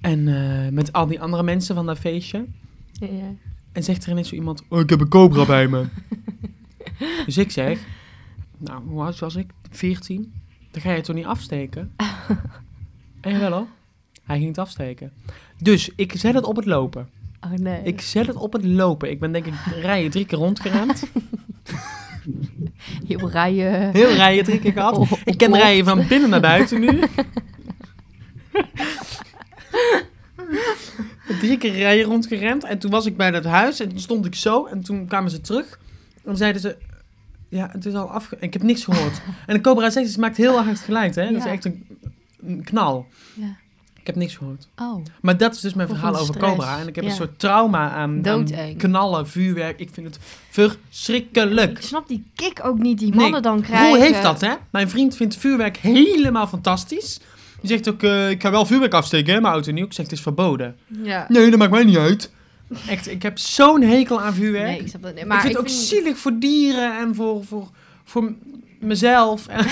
[SPEAKER 2] En eh, met al die andere mensen van dat feestje.
[SPEAKER 1] Ja, ja.
[SPEAKER 2] En zegt er ineens zo iemand, oh, ik heb een cobra bij me. dus ik zeg, nou, hoe oud was ik? 14. Dan ga je toch niet afsteken? en wel hoor. Hij ging het afsteken. Dus ik zet het op het lopen.
[SPEAKER 1] Oh nee.
[SPEAKER 2] Ik zet het op het lopen. Ik ben denk ik rijden drie keer rondgerend.
[SPEAKER 1] Heel rijen.
[SPEAKER 2] Heel rijden drie keer gehad.
[SPEAKER 1] Oh,
[SPEAKER 2] Ik ken
[SPEAKER 1] oh.
[SPEAKER 2] rijden van binnen naar buiten nu. Drie keer rijden rondgerend. En toen was ik bij dat huis en toen stond ik zo. En toen kwamen ze terug. En toen zeiden ze... Ja, het is al afge... Ik heb niks gehoord. En de Cobra 6 is- maakt heel erg hard geluid, hè? Dat is
[SPEAKER 1] Ja.
[SPEAKER 2] echt een, een knal.
[SPEAKER 1] Ja.
[SPEAKER 2] Ik heb niks gehoord.
[SPEAKER 1] Oh.
[SPEAKER 2] Maar dat is dus mijn
[SPEAKER 1] Of
[SPEAKER 2] verhaal
[SPEAKER 1] een
[SPEAKER 2] over
[SPEAKER 1] stress.
[SPEAKER 2] Cobra. En ik heb
[SPEAKER 1] Ja.
[SPEAKER 2] een soort trauma aan, aan
[SPEAKER 1] Doodeng.
[SPEAKER 2] knallen, vuurwerk. Ik vind het
[SPEAKER 1] Ik
[SPEAKER 2] verschrikkelijk.
[SPEAKER 1] snap die kick ook niet die
[SPEAKER 2] Nee.
[SPEAKER 1] mannen dan krijgen.
[SPEAKER 2] Hoe heeft dat, hè? Mijn vriend vindt vuurwerk helemaal fantastisch. Die zegt ook, eh, ik ga wel vuurwerk afsteken, hè, maar oud en nieuw. Ik zeg, het is verboden.
[SPEAKER 1] Ja.
[SPEAKER 2] Nee, dat maakt mij niet uit. Echt, ik heb zo'n hekel aan vuurwerk.
[SPEAKER 1] Nee, ik
[SPEAKER 2] ik,
[SPEAKER 1] snap dat niet. Maar
[SPEAKER 2] vind het ook zielig voor dieren en voor, voor, voor m- mezelf. En,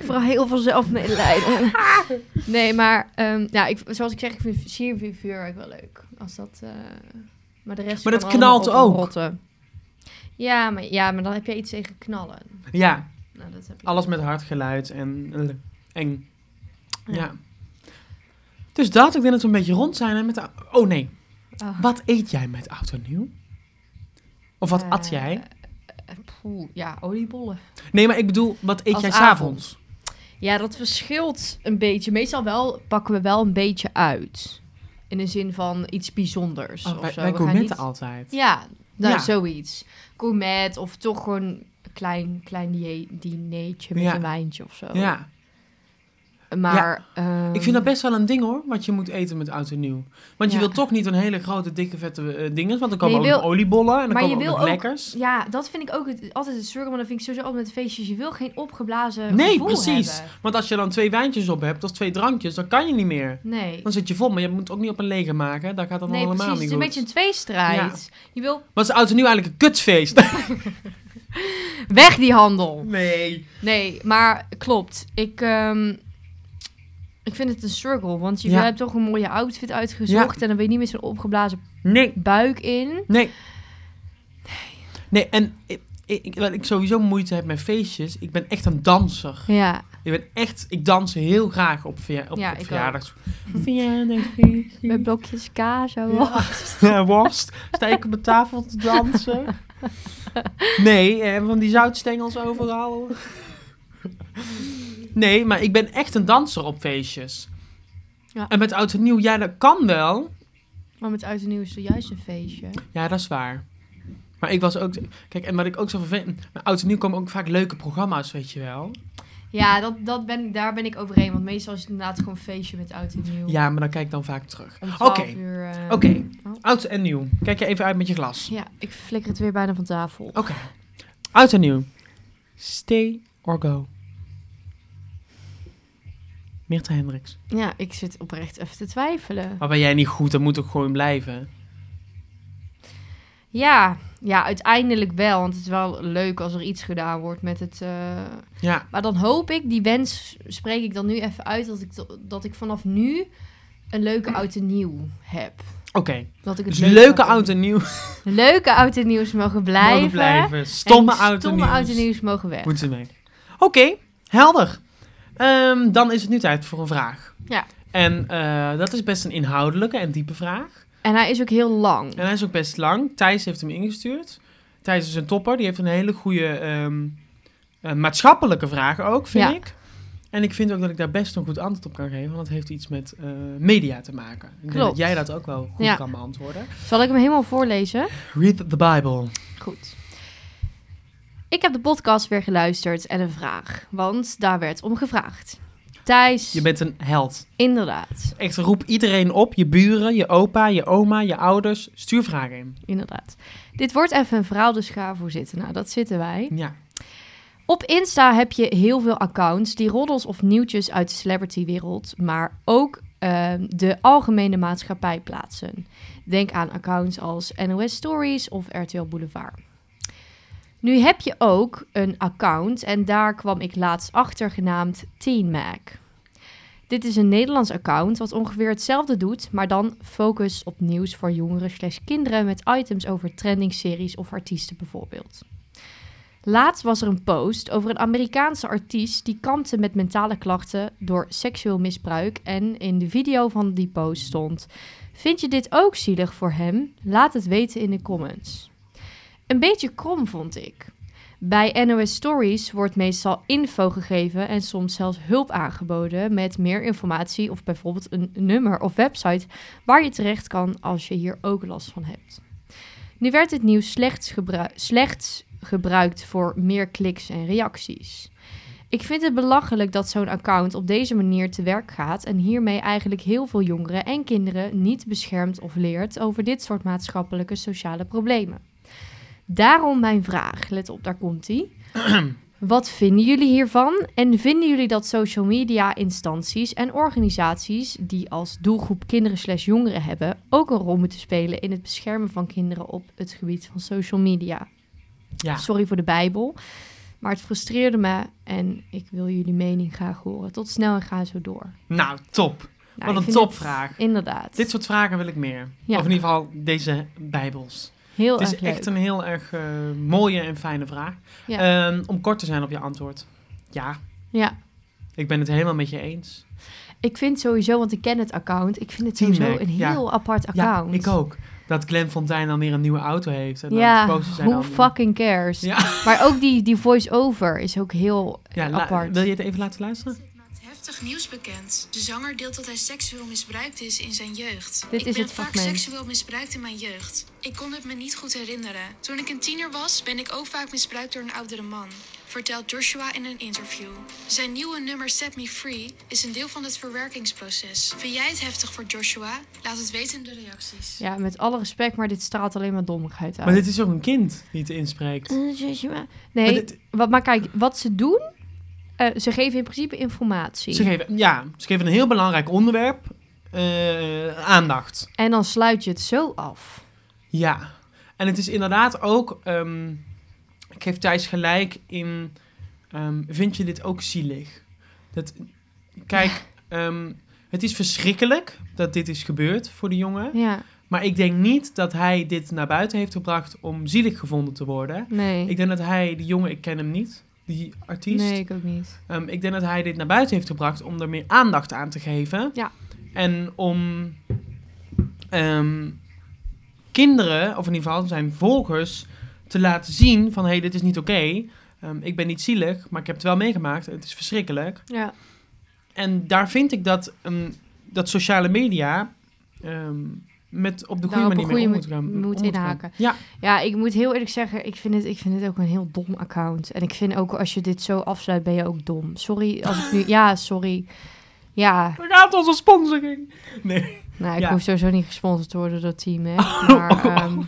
[SPEAKER 1] vooral heel veel zelfmedelijden. Ah! nee, maar ehm, ja, ik, zoals ik zeg, ik vind siervuur vuurwerk wel leuk. Als dat, eh, maar de rest
[SPEAKER 2] Maar
[SPEAKER 1] kan
[SPEAKER 2] dat
[SPEAKER 1] allemaal
[SPEAKER 2] knalt ook.
[SPEAKER 1] oprotten. Ja maar, ja, maar dan heb je iets tegen knallen.
[SPEAKER 2] ja,
[SPEAKER 1] Nou, dat heb ik
[SPEAKER 2] alles
[SPEAKER 1] niet.
[SPEAKER 2] met hard geluid en eh, eng. Ja.
[SPEAKER 1] Ja.
[SPEAKER 2] Dus dat, ik denk dat we een beetje rond zijn. En met de, oh nee,
[SPEAKER 1] Oh.
[SPEAKER 2] wat eet jij met oud en nieuw? Of wat at
[SPEAKER 1] Eh,
[SPEAKER 2] jij?
[SPEAKER 1] eh, poeh, ja, oliebollen.
[SPEAKER 2] Nee, maar ik bedoel, wat eet
[SPEAKER 1] Als
[SPEAKER 2] jij
[SPEAKER 1] avond.
[SPEAKER 2] s'avonds?
[SPEAKER 1] Ja, dat verschilt een beetje. Meestal wel pakken we wel een beetje uit. In de zin van iets bijzonders
[SPEAKER 2] Oh,
[SPEAKER 1] of
[SPEAKER 2] wij
[SPEAKER 1] zo.
[SPEAKER 2] wij
[SPEAKER 1] We gaan
[SPEAKER 2] gourmetten
[SPEAKER 1] niet-
[SPEAKER 2] altijd.
[SPEAKER 1] Ja, nou,
[SPEAKER 2] Ja.
[SPEAKER 1] zoiets. Gourmet of toch gewoon een klein, klein die- dinertje met
[SPEAKER 2] Ja.
[SPEAKER 1] een wijntje of zo.
[SPEAKER 2] Ja,
[SPEAKER 1] Maar... ehm,
[SPEAKER 2] ik vind dat best wel een ding hoor, wat je moet eten met oud en nieuw. Want je
[SPEAKER 1] Ja.
[SPEAKER 2] wil toch niet een hele grote, dikke, vette eh, dinges, want dan komen
[SPEAKER 1] Nee, je
[SPEAKER 2] ook
[SPEAKER 1] wil-
[SPEAKER 2] oliebollen en dan
[SPEAKER 1] maar
[SPEAKER 2] komen
[SPEAKER 1] je
[SPEAKER 2] ook
[SPEAKER 1] wil
[SPEAKER 2] nog
[SPEAKER 1] ook-
[SPEAKER 2] lekkers.
[SPEAKER 1] Ja, dat vind ik ook het, altijd het struggle. Maar dat vind ik sowieso altijd met feestjes. Je wil geen opgeblazen
[SPEAKER 2] Nee,
[SPEAKER 1] gevoel
[SPEAKER 2] precies.
[SPEAKER 1] hebben.
[SPEAKER 2] Want als je dan twee wijntjes op hebt of twee drankjes, dan kan je niet meer.
[SPEAKER 1] Nee.
[SPEAKER 2] Dan zit je vol, maar je moet ook niet op een lege maken. Daar gaat dan
[SPEAKER 1] Nee,
[SPEAKER 2] allemaal
[SPEAKER 1] precies. Het
[SPEAKER 2] niet
[SPEAKER 1] is
[SPEAKER 2] goed.
[SPEAKER 1] een beetje een tweestrijd. Je wil
[SPEAKER 2] Maar is oud en nieuw eigenlijk een kutfeest?
[SPEAKER 1] weg die handel.
[SPEAKER 2] nee.
[SPEAKER 1] Nee, maar klopt. Ik, ehm, ik vind het een struggle. Want je
[SPEAKER 2] Ja.
[SPEAKER 1] hebt toch een mooie outfit uitgezocht. En dan ben je niet met zo'n opgeblazen
[SPEAKER 2] Nee.
[SPEAKER 1] buik in.
[SPEAKER 2] Nee. Nee, en ik, ik, ik- wat ik sowieso moeite heb met feestjes. Ik ben echt een danser.
[SPEAKER 1] Ja.
[SPEAKER 2] Ik ben echt, ik dans heel graag op, verja- op,
[SPEAKER 1] Ja,
[SPEAKER 2] op
[SPEAKER 1] ik
[SPEAKER 2] verjaardags.
[SPEAKER 1] Met blokjes kaas. zo.
[SPEAKER 2] Ja. Ja, worst. Sta ik op mijn tafel te dansen? Nee, eh, van die zoutstengels overal. Nee, maar ik ben echt een danser op feestjes.
[SPEAKER 1] Ja.
[SPEAKER 2] En met oud en nieuw, ja, dat kan wel.
[SPEAKER 1] Maar met uit en nieuw is er juist een feestje.
[SPEAKER 2] Ja, dat is waar. Maar ik was ook... Kijk, en wat ik ook zo vervelend... Met oud en nieuw komen ook vaak leuke programma's, weet je wel.
[SPEAKER 1] Ja, dat, dat ben, daar ben ik overheen. Want meestal is het inderdaad gewoon een feestje met oud en nieuw.
[SPEAKER 2] Ja, maar dan kijk ik dan vaak terug.
[SPEAKER 1] Om
[SPEAKER 2] Oké,
[SPEAKER 1] 12 uur, eh,
[SPEAKER 2] Oké, oud en nieuw. Kijk je even uit met je glas.
[SPEAKER 1] Ja, ik flikker het weer bijna van tafel.
[SPEAKER 2] Oké. Oud en nieuw. Stay or go. Mirta Hendricks.
[SPEAKER 1] Ja, ik zit oprecht even te twijfelen.
[SPEAKER 2] Maar ben jij niet goed, dan moet ook gewoon blijven.
[SPEAKER 1] Ja, ja, uiteindelijk wel. Want het is wel leuk als er iets gedaan wordt met het... eh,
[SPEAKER 2] Ja,
[SPEAKER 1] Maar dan hoop ik, die wens spreek ik dan nu even uit... dat ik, to- dat ik vanaf nu een leuke oud en nieuw heb.
[SPEAKER 2] oké.
[SPEAKER 1] Dat ik het
[SPEAKER 2] Dus
[SPEAKER 1] leuk
[SPEAKER 2] leuke
[SPEAKER 1] mag doen.
[SPEAKER 2] oud en nieuw
[SPEAKER 1] Leuke oud en nieuws mogen blijven.
[SPEAKER 2] mogen blijven. Stomme
[SPEAKER 1] En
[SPEAKER 2] oud en
[SPEAKER 1] stomme oud en
[SPEAKER 2] nieuw.
[SPEAKER 1] nieuws mogen weg.
[SPEAKER 2] Moeten mee. Oké, helder. Ehm, dan is het nu tijd voor een vraag.
[SPEAKER 1] Ja.
[SPEAKER 2] En eh, dat is best een inhoudelijke en diepe vraag.
[SPEAKER 1] En hij is ook heel lang.
[SPEAKER 2] En hij is ook best lang. Thijs heeft hem ingestuurd. Thijs is een topper. Die heeft een hele goede ehm, eh, maatschappelijke vraag ook, vind
[SPEAKER 1] Ja.
[SPEAKER 2] ik. En ik vind ook dat ik daar best een goed antwoord op kan geven. Want het heeft iets met eh, media te maken. Ik denk
[SPEAKER 1] Klopt.
[SPEAKER 2] dat jij dat ook wel goed
[SPEAKER 1] Ja.
[SPEAKER 2] kan beantwoorden.
[SPEAKER 1] Zal ik hem helemaal voorlezen?
[SPEAKER 2] Read the Bible.
[SPEAKER 1] Goed. Ik heb de podcast weer geluisterd en een vraag. Want daar werd om gevraagd. Thijs,
[SPEAKER 2] Je bent een held.
[SPEAKER 1] inderdaad.
[SPEAKER 2] Echt, roep iedereen op. Je buren, je opa, je oma, je ouders. Stuur vragen in.
[SPEAKER 1] Inderdaad. Dit wordt even een verhaal, dus ga voor zitten. Nou, dat zitten wij.
[SPEAKER 2] Ja.
[SPEAKER 1] Op Insta heb je heel veel accounts die roddels of nieuwtjes uit de celebrity wereld, maar ook ehm, de algemene maatschappij plaatsen. Denk aan accounts als NOS Stories of RTL Boulevard. Nu heb je ook een account en daar kwam ik laatst achter genaamd Teen Mac. Dit is een Nederlands account wat ongeveer hetzelfde doet, maar dan focust op nieuws voor jongeren slash kinderen met items over trending series of artiesten bijvoorbeeld. Laatst was er een post over een Amerikaanse artiest die kampte met mentale klachten door seksueel misbruik. En in de video van die post stond: Vind je dit ook zielig voor hem? Laat het weten in de comments. Een beetje krom vond ik. Bij NOS Stories wordt meestal info gegeven en soms zelfs hulp aangeboden met meer informatie of bijvoorbeeld een nummer of website waar je terecht kan als je hier ook last van hebt. Nu werd het nieuws slechts, gebru- slechts gebruikt voor meer kliks en reacties. Ik vind het belachelijk dat zo'n account op deze manier te werk gaat en hiermee eigenlijk heel veel jongeren en kinderen niet beschermt of leert over dit soort maatschappelijke sociale problemen. Daarom mijn vraag, let op, daar komt ie. Wat vinden jullie hiervan? En vinden jullie dat social media instanties en organisaties die als doelgroep kinderen slash jongeren hebben, ook een rol moeten spelen in het beschermen van kinderen op het gebied van social media?
[SPEAKER 2] Ja.
[SPEAKER 1] Sorry voor de Bijbel. Maar het frustreerde me en ik wil jullie mening graag horen. Tot snel en ga zo door. Nou,
[SPEAKER 2] Nou, top.
[SPEAKER 1] ik
[SPEAKER 2] Wat een
[SPEAKER 1] vind het-
[SPEAKER 2] topvraag.
[SPEAKER 1] Inderdaad.
[SPEAKER 2] Dit soort vragen wil ik meer.
[SPEAKER 1] Ja.
[SPEAKER 2] Of in ieder geval deze bijbels.
[SPEAKER 1] heel
[SPEAKER 2] Het is
[SPEAKER 1] erg leuk.
[SPEAKER 2] echt een heel erg eh, mooie en fijne vraag.
[SPEAKER 1] Ja.
[SPEAKER 2] Ehm, om kort te zijn op je antwoord. Ja,
[SPEAKER 1] Ja,
[SPEAKER 2] ik ben het helemaal met je eens.
[SPEAKER 1] ik vind sowieso, want ik ken het account, ik vind het
[SPEAKER 2] Team
[SPEAKER 1] sowieso
[SPEAKER 2] Mac,
[SPEAKER 1] een
[SPEAKER 2] ja.
[SPEAKER 1] heel apart
[SPEAKER 2] Ja,
[SPEAKER 1] account.
[SPEAKER 2] ik ook. Dat Glenn Fontijn dan weer een nieuwe auto heeft. En dan
[SPEAKER 1] Ja,
[SPEAKER 2] de posts zijn
[SPEAKER 1] who
[SPEAKER 2] dan-
[SPEAKER 1] fucking cares?
[SPEAKER 2] Ja,
[SPEAKER 1] Maar ook die, die voice-over is ook heel eh,
[SPEAKER 2] ja la-
[SPEAKER 1] apart.
[SPEAKER 2] wil je het even laten luisteren?
[SPEAKER 3] Heftig nieuws bekend. De zanger deelt dat hij seksueel misbruikt is in zijn jeugd.
[SPEAKER 1] Dit
[SPEAKER 3] ik
[SPEAKER 1] is
[SPEAKER 3] ben
[SPEAKER 1] het
[SPEAKER 3] vaak
[SPEAKER 1] fragment.
[SPEAKER 3] seksueel misbruikt in mijn jeugd. Ik kon het me niet goed herinneren. Toen ik een tiener was, ben ik ook vaak misbruikt door een oudere man. Vertelt Joshua in een interview. Zijn nieuwe nummer Set Me Free is een deel van het verwerkingsproces. Vind jij het heftig voor Joshua? Laat het weten in de reacties.
[SPEAKER 1] Ja, met alle respect, maar dit straalt alleen maar dommigheid uit.
[SPEAKER 2] Maar dit is ook een kind die het inspreekt.
[SPEAKER 1] Nee,
[SPEAKER 2] Maar dit-
[SPEAKER 1] wat, maar kijk, wat ze doen, eh, ze geven in principe informatie.
[SPEAKER 2] Ze geven, ja, ze geven een heel belangrijk onderwerp eh, aandacht.
[SPEAKER 1] En dan sluit je het zo af.
[SPEAKER 2] Ja, en het is inderdaad ook. ehm, ik geef Thijs gelijk in. ehm, vind je dit ook zielig? Dat, kijk, ehm, het is verschrikkelijk dat dit is gebeurd voor de jongen.
[SPEAKER 1] Ja,
[SPEAKER 2] Maar ik denk niet dat hij dit naar buiten heeft gebracht om zielig gevonden te worden.
[SPEAKER 1] nee.
[SPEAKER 2] Ik denk dat hij, die jongen, ik ken hem niet, die artiest.
[SPEAKER 1] nee, ik ook niet.
[SPEAKER 2] Ehm, ik denk dat hij dit naar buiten heeft gebracht om er meer aandacht aan te geven.
[SPEAKER 1] Ja.
[SPEAKER 2] En om ehm, kinderen, of in ieder geval zijn volgers, te laten zien van... hé, hey, dit is niet oké. Ehm, ik ben niet zielig, maar ik heb het wel meegemaakt. Het is verschrikkelijk.
[SPEAKER 1] Ja,
[SPEAKER 2] En daar vind ik dat, ehm, dat sociale media... ehm, met op de
[SPEAKER 1] Daar op
[SPEAKER 2] goede
[SPEAKER 1] een
[SPEAKER 2] manier mee
[SPEAKER 1] goede
[SPEAKER 2] om
[SPEAKER 1] ma-
[SPEAKER 2] moeten gaan.
[SPEAKER 1] moet
[SPEAKER 2] om moeten gaan.
[SPEAKER 1] inhaken.
[SPEAKER 2] Ja,
[SPEAKER 1] ja ik moet heel eerlijk zeggen, ik vind, het, ik vind het ook een heel dom account. En ik vind ook, als je dit zo afsluit, ben je ook dom. Sorry, als ik nu... Ja, sorry. Ja,
[SPEAKER 2] we gaan onze sponsoring. Nee.
[SPEAKER 1] nou, ik
[SPEAKER 2] Ja. Oh,
[SPEAKER 1] hoef sowieso niet gesponsord te worden door het team, hè. Maar, ehm,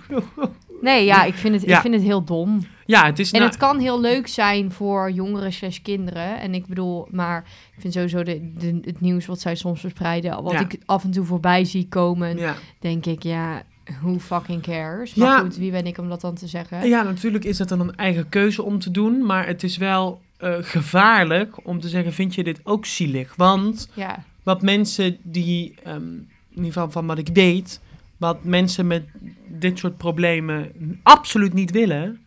[SPEAKER 1] nee, ja, ik vind het, ik
[SPEAKER 2] Ja.
[SPEAKER 1] vind het heel dom.
[SPEAKER 2] Ja, het is...
[SPEAKER 1] En
[SPEAKER 2] nou-
[SPEAKER 1] het kan heel leuk zijn voor jongeren slash kinderen. En ik bedoel, maar ik vind sowieso de, de- het nieuws wat zij soms verspreiden... wat
[SPEAKER 2] Ja.
[SPEAKER 1] ik af en toe voorbij zie komen,
[SPEAKER 2] ja.
[SPEAKER 1] denk ik, ja, who fucking cares? Maar
[SPEAKER 2] Ja.
[SPEAKER 1] goed, wie ben ik om dat dan te zeggen?
[SPEAKER 2] Ja, natuurlijk is dat dan een eigen keuze om te doen. Maar het is wel eh, gevaarlijk om te zeggen: vind je dit ook zielig? Want
[SPEAKER 1] Ja,
[SPEAKER 2] wat mensen die, ehm, in ieder geval van wat ik weet, wat mensen met dit soort problemen absoluut niet willen,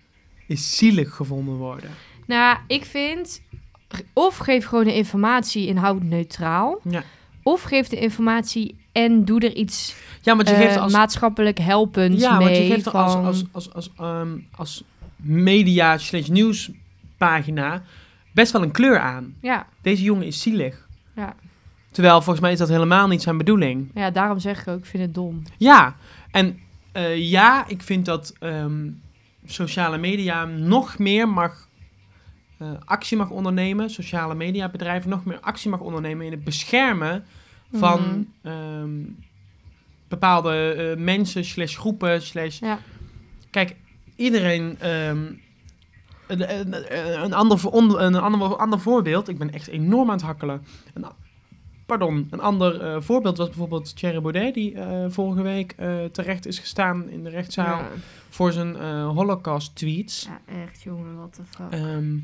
[SPEAKER 2] is zielig gevonden worden.
[SPEAKER 1] nou, ik vind... Of geef gewoon de informatie inhoud neutraal.
[SPEAKER 2] Ja.
[SPEAKER 1] Of geef de informatie en doe er iets
[SPEAKER 2] Ja, want je
[SPEAKER 1] eh,
[SPEAKER 2] geeft als.
[SPEAKER 1] maatschappelijk helpends
[SPEAKER 2] ja,
[SPEAKER 1] mee.
[SPEAKER 2] want je geeft er als,
[SPEAKER 1] van-
[SPEAKER 2] als, als, als, ehm, als media slash nieuwspagina best wel een kleur aan.
[SPEAKER 1] Ja,
[SPEAKER 2] Deze jongen is zielig.
[SPEAKER 1] Ja.
[SPEAKER 2] Terwijl volgens mij is dat helemaal niet zijn bedoeling.
[SPEAKER 1] ja, daarom zeg ik ook, ik vind het dom.
[SPEAKER 2] Ja, en eh, ja, ik vind dat ehm, sociale media nog meer mag eh, actie mag ondernemen, sociale mediabedrijven nog meer actie mag ondernemen in het beschermen van
[SPEAKER 1] Mhm.
[SPEAKER 2] ehm, bepaalde eh, mensen, slash groepen, slash...
[SPEAKER 1] Ja.
[SPEAKER 2] Kijk, iedereen... ehm, een, een, een, ander, voor- on- een ander, ander voorbeeld, ik ben echt enorm aan het hakkelen. Een, a- Pardon, een ander eh, voorbeeld was bijvoorbeeld Thierry Baudet, die eh, vorige week eh, terecht is gestaan in de rechtszaal
[SPEAKER 4] Ja,
[SPEAKER 2] voor zijn eh, Holocaust-tweets.
[SPEAKER 4] ja, echt jongen, wat de fuck.
[SPEAKER 2] Ehm,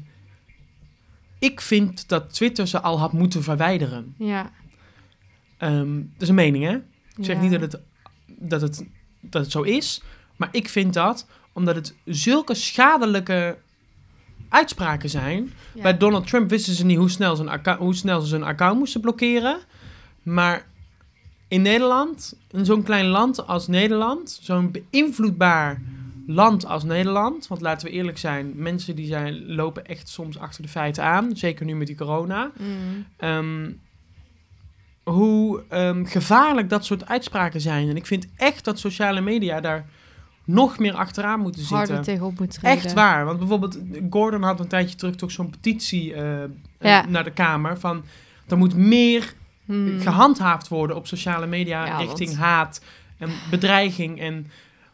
[SPEAKER 2] ik vind dat Twitter ze al had moeten verwijderen.
[SPEAKER 1] Ja.
[SPEAKER 2] Ehm, dat is een mening, hè? Ik zeg
[SPEAKER 1] ja.
[SPEAKER 2] niet dat het, dat, het, dat het zo is, maar ik vind dat omdat het zulke schadelijke uitspraken zijn.
[SPEAKER 1] Ja.
[SPEAKER 2] Bij Donald Trump wisten ze niet hoe snel, zijn acca- hoe snel ze zijn account moesten blokkeren. Maar in Nederland, in zo'n klein land als Nederland, zo'n beïnvloedbaar land als Nederland. Want laten we eerlijk zijn, mensen die zijn, lopen echt soms achter de feiten aan. Zeker nu met die corona.
[SPEAKER 1] Mm.
[SPEAKER 2] Ehm, hoe ehm, gevaarlijk dat soort uitspraken zijn. En ik vind echt dat sociale media daar nog meer achteraan moeten zitten.
[SPEAKER 1] Harder tegenop moet treden.
[SPEAKER 2] eh, Echt waar. Want bijvoorbeeld, Gordon had een tijdje terug toch zo'n petitie eh, eh,
[SPEAKER 1] Ja.
[SPEAKER 2] naar de Kamer. Van er moet meer
[SPEAKER 1] Mm.
[SPEAKER 2] gehandhaafd worden op sociale media
[SPEAKER 1] Ja,
[SPEAKER 2] richting
[SPEAKER 1] want-
[SPEAKER 2] haat en bedreiging. En,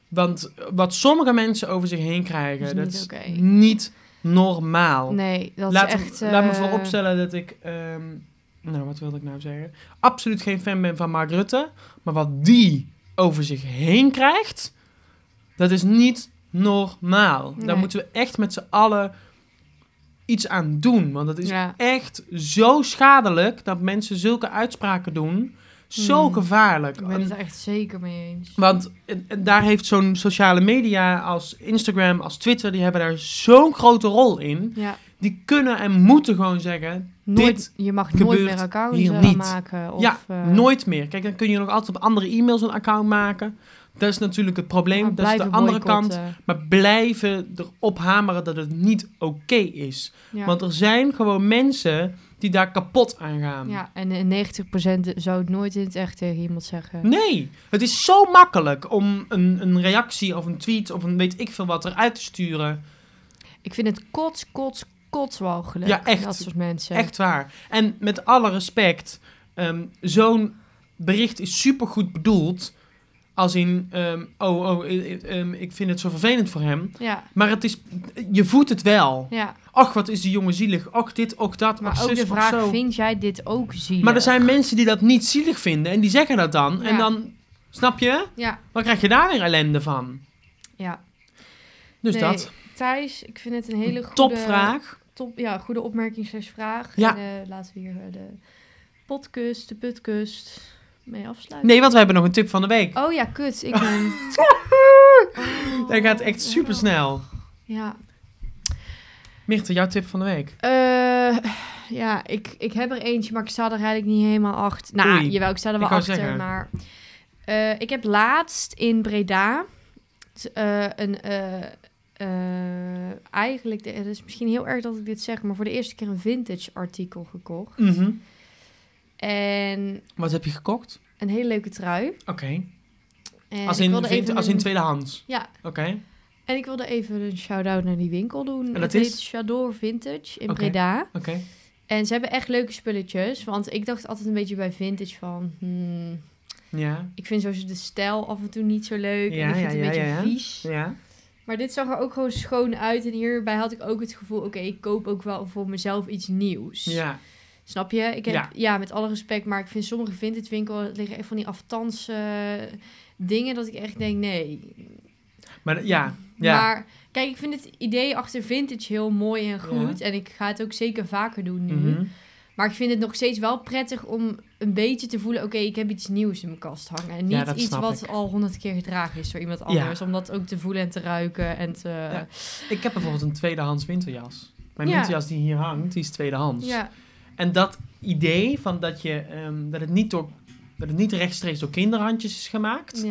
[SPEAKER 2] want wat sommige mensen over zich heen krijgen,
[SPEAKER 1] Is
[SPEAKER 2] dat
[SPEAKER 1] niet
[SPEAKER 2] is
[SPEAKER 1] oké.
[SPEAKER 2] niet normaal.
[SPEAKER 1] Nee, dat
[SPEAKER 2] laat,
[SPEAKER 1] is echt...
[SPEAKER 2] laat me
[SPEAKER 1] eh,
[SPEAKER 2] vooropstellen dat ik. ehm, nou, wat wilde ik nou zeggen? Absoluut geen fan ben van Mark Rutte. Maar wat die over zich heen krijgt, dat is niet normaal.
[SPEAKER 1] Nee.
[SPEAKER 2] Daar moeten we echt met z'n allen iets aan doen. Want dat is
[SPEAKER 1] Ja.
[SPEAKER 2] echt zo schadelijk dat mensen zulke uitspraken doen. Zo
[SPEAKER 1] Mm.
[SPEAKER 2] gevaarlijk.
[SPEAKER 1] Ik ben
[SPEAKER 2] En-
[SPEAKER 1] het er echt zeker mee eens.
[SPEAKER 2] want en- en daar heeft zo'n sociale media als Instagram, als Twitter, die hebben daar zo'n grote rol in.
[SPEAKER 1] Ja.
[SPEAKER 2] Die kunnen en moeten gewoon zeggen,
[SPEAKER 1] Nooit,
[SPEAKER 2] Dit
[SPEAKER 1] je mag nooit
[SPEAKER 2] gebeurt
[SPEAKER 1] meer accounts
[SPEAKER 2] hier
[SPEAKER 1] eh,
[SPEAKER 2] niet.
[SPEAKER 1] maken. Of,
[SPEAKER 2] Ja,
[SPEAKER 1] eh,
[SPEAKER 2] Nooit meer. Kijk, dan kun je nog altijd op andere e-mails een account maken. Dat is natuurlijk het probleem.
[SPEAKER 1] maar
[SPEAKER 2] dat is de
[SPEAKER 1] blijven
[SPEAKER 2] andere kant.
[SPEAKER 1] boycotten.
[SPEAKER 2] Maar blijven erop hameren dat het niet oké is.
[SPEAKER 1] Ja.
[SPEAKER 2] Want er zijn gewoon mensen die daar kapot aan gaan.
[SPEAKER 1] ja, en eh, 90% zou het nooit in het echt tegen iemand zeggen.
[SPEAKER 2] Nee, het is zo makkelijk om een, een reactie of een tweet of een weet ik veel wat eruit te sturen.
[SPEAKER 1] Ik vind het kots, kots, kots walgelijk.
[SPEAKER 2] Ja, echt.
[SPEAKER 1] Dat soort mensen.
[SPEAKER 2] Echt waar. En met alle respect, ehm, zo'n bericht is supergoed bedoeld. Als in, ehm, oh, oh eh, eh, ehm, ik vind het zo vervelend voor hem.
[SPEAKER 1] Ja,
[SPEAKER 2] Maar het is, je voelt het wel.
[SPEAKER 1] ja.
[SPEAKER 2] Och, wat is die jongen zielig. Och, dit, och, dat.
[SPEAKER 1] maar
[SPEAKER 2] och,
[SPEAKER 1] ook
[SPEAKER 2] zus,
[SPEAKER 1] de
[SPEAKER 2] och,
[SPEAKER 1] vraag,
[SPEAKER 2] zo.
[SPEAKER 1] vind jij dit ook zielig?
[SPEAKER 2] Maar er zijn mensen die dat niet zielig vinden. En die zeggen dat dan. En
[SPEAKER 1] Ja.
[SPEAKER 2] dan, snap je?
[SPEAKER 1] Ja,
[SPEAKER 2] Dan krijg je daar weer ellende van.
[SPEAKER 1] ja.
[SPEAKER 2] Dus
[SPEAKER 1] Nee,
[SPEAKER 2] dat.
[SPEAKER 1] Thijs, ik vind het een hele goede...
[SPEAKER 2] Topvraag.
[SPEAKER 1] Top, ja, goede opmerking slash vraag.
[SPEAKER 2] Ja.
[SPEAKER 1] En, eh, laten we hier eh, de podcast, de putkust mee afsluiten.
[SPEAKER 2] Nee, want we hebben nog een tip van de week.
[SPEAKER 1] Oh ja, kut. Ik ben... Oh,
[SPEAKER 2] Dat gaat echt super snel.
[SPEAKER 1] Ja.
[SPEAKER 2] Mirte, jouw tip van de week.
[SPEAKER 1] Eh, ja, ik, ik heb er eentje, maar ik sta er eigenlijk niet helemaal achter. Nou,
[SPEAKER 2] Oei,
[SPEAKER 1] jawel, ik sta er wel
[SPEAKER 2] ik wou
[SPEAKER 1] achter,
[SPEAKER 2] zeggen.
[SPEAKER 1] maar... eh, ik heb laatst in Breda t- eh, een... eh, eh, eigenlijk, de- het is misschien heel erg dat ik dit zeg, maar voor de eerste keer een vintage artikel gekocht.
[SPEAKER 2] Mhm.
[SPEAKER 1] En
[SPEAKER 2] Wat heb je gekocht?
[SPEAKER 1] een hele leuke trui.
[SPEAKER 2] Oké.
[SPEAKER 1] En
[SPEAKER 2] Als,
[SPEAKER 1] Eh, ik
[SPEAKER 2] in
[SPEAKER 1] wilde
[SPEAKER 2] vind-
[SPEAKER 1] even
[SPEAKER 2] als
[SPEAKER 1] een-
[SPEAKER 2] in tweedehands.
[SPEAKER 1] Ja,
[SPEAKER 2] Oké.
[SPEAKER 1] en ik wilde even een shout-out naar die winkel doen.
[SPEAKER 2] dat
[SPEAKER 1] het
[SPEAKER 2] is?
[SPEAKER 1] heet Chador Vintage in
[SPEAKER 2] Oké.
[SPEAKER 1] Breda.
[SPEAKER 2] Oké.
[SPEAKER 1] En ze hebben echt leuke spulletjes. Want ik dacht altijd een beetje bij vintage van... hmm,
[SPEAKER 2] Ja.
[SPEAKER 1] ik vind sowieso de stijl af en toe niet zo leuk.
[SPEAKER 2] Ja,
[SPEAKER 1] en ik vind het
[SPEAKER 2] ja, ja,
[SPEAKER 1] een beetje
[SPEAKER 2] ja, ja.
[SPEAKER 1] vies.
[SPEAKER 2] Ja.
[SPEAKER 1] Maar dit zag er ook gewoon schoon uit. En hierbij had ik ook het gevoel... Oké, ik koop ook wel voor mezelf iets nieuws.
[SPEAKER 2] Ja.
[SPEAKER 1] Snap je? Ik heb,
[SPEAKER 2] Ja.
[SPEAKER 1] ja. met alle respect. Maar ik vind sommige vintage winkels... liggen echt van die aftans eh, dingen... dat ik echt denk, nee.
[SPEAKER 2] Maar ja. Ja.
[SPEAKER 1] Maar kijk, ik vind het idee achter vintage heel mooi en goed. En ik ga het ook zeker vaker doen nu.
[SPEAKER 2] Mhm.
[SPEAKER 1] Maar ik vind het nog steeds wel prettig om een beetje te voelen... oké, ik heb iets nieuws in mijn kast hangen. En
[SPEAKER 2] Ja,
[SPEAKER 1] niet
[SPEAKER 2] dat
[SPEAKER 1] iets
[SPEAKER 2] snap
[SPEAKER 1] wat
[SPEAKER 2] ik.
[SPEAKER 1] al honderd keer gedragen is door iemand
[SPEAKER 2] Ja.
[SPEAKER 1] anders. Om dat ook te voelen en te ruiken en te... Ja,
[SPEAKER 2] Ik heb bijvoorbeeld een tweedehands winterjas. Mijn
[SPEAKER 1] Ja.
[SPEAKER 2] winterjas die hier hangt, die is tweedehands.
[SPEAKER 1] ja,
[SPEAKER 2] En dat idee van dat, je, ehm, dat, het niet door, dat het niet rechtstreeks door kinderhandjes is gemaakt,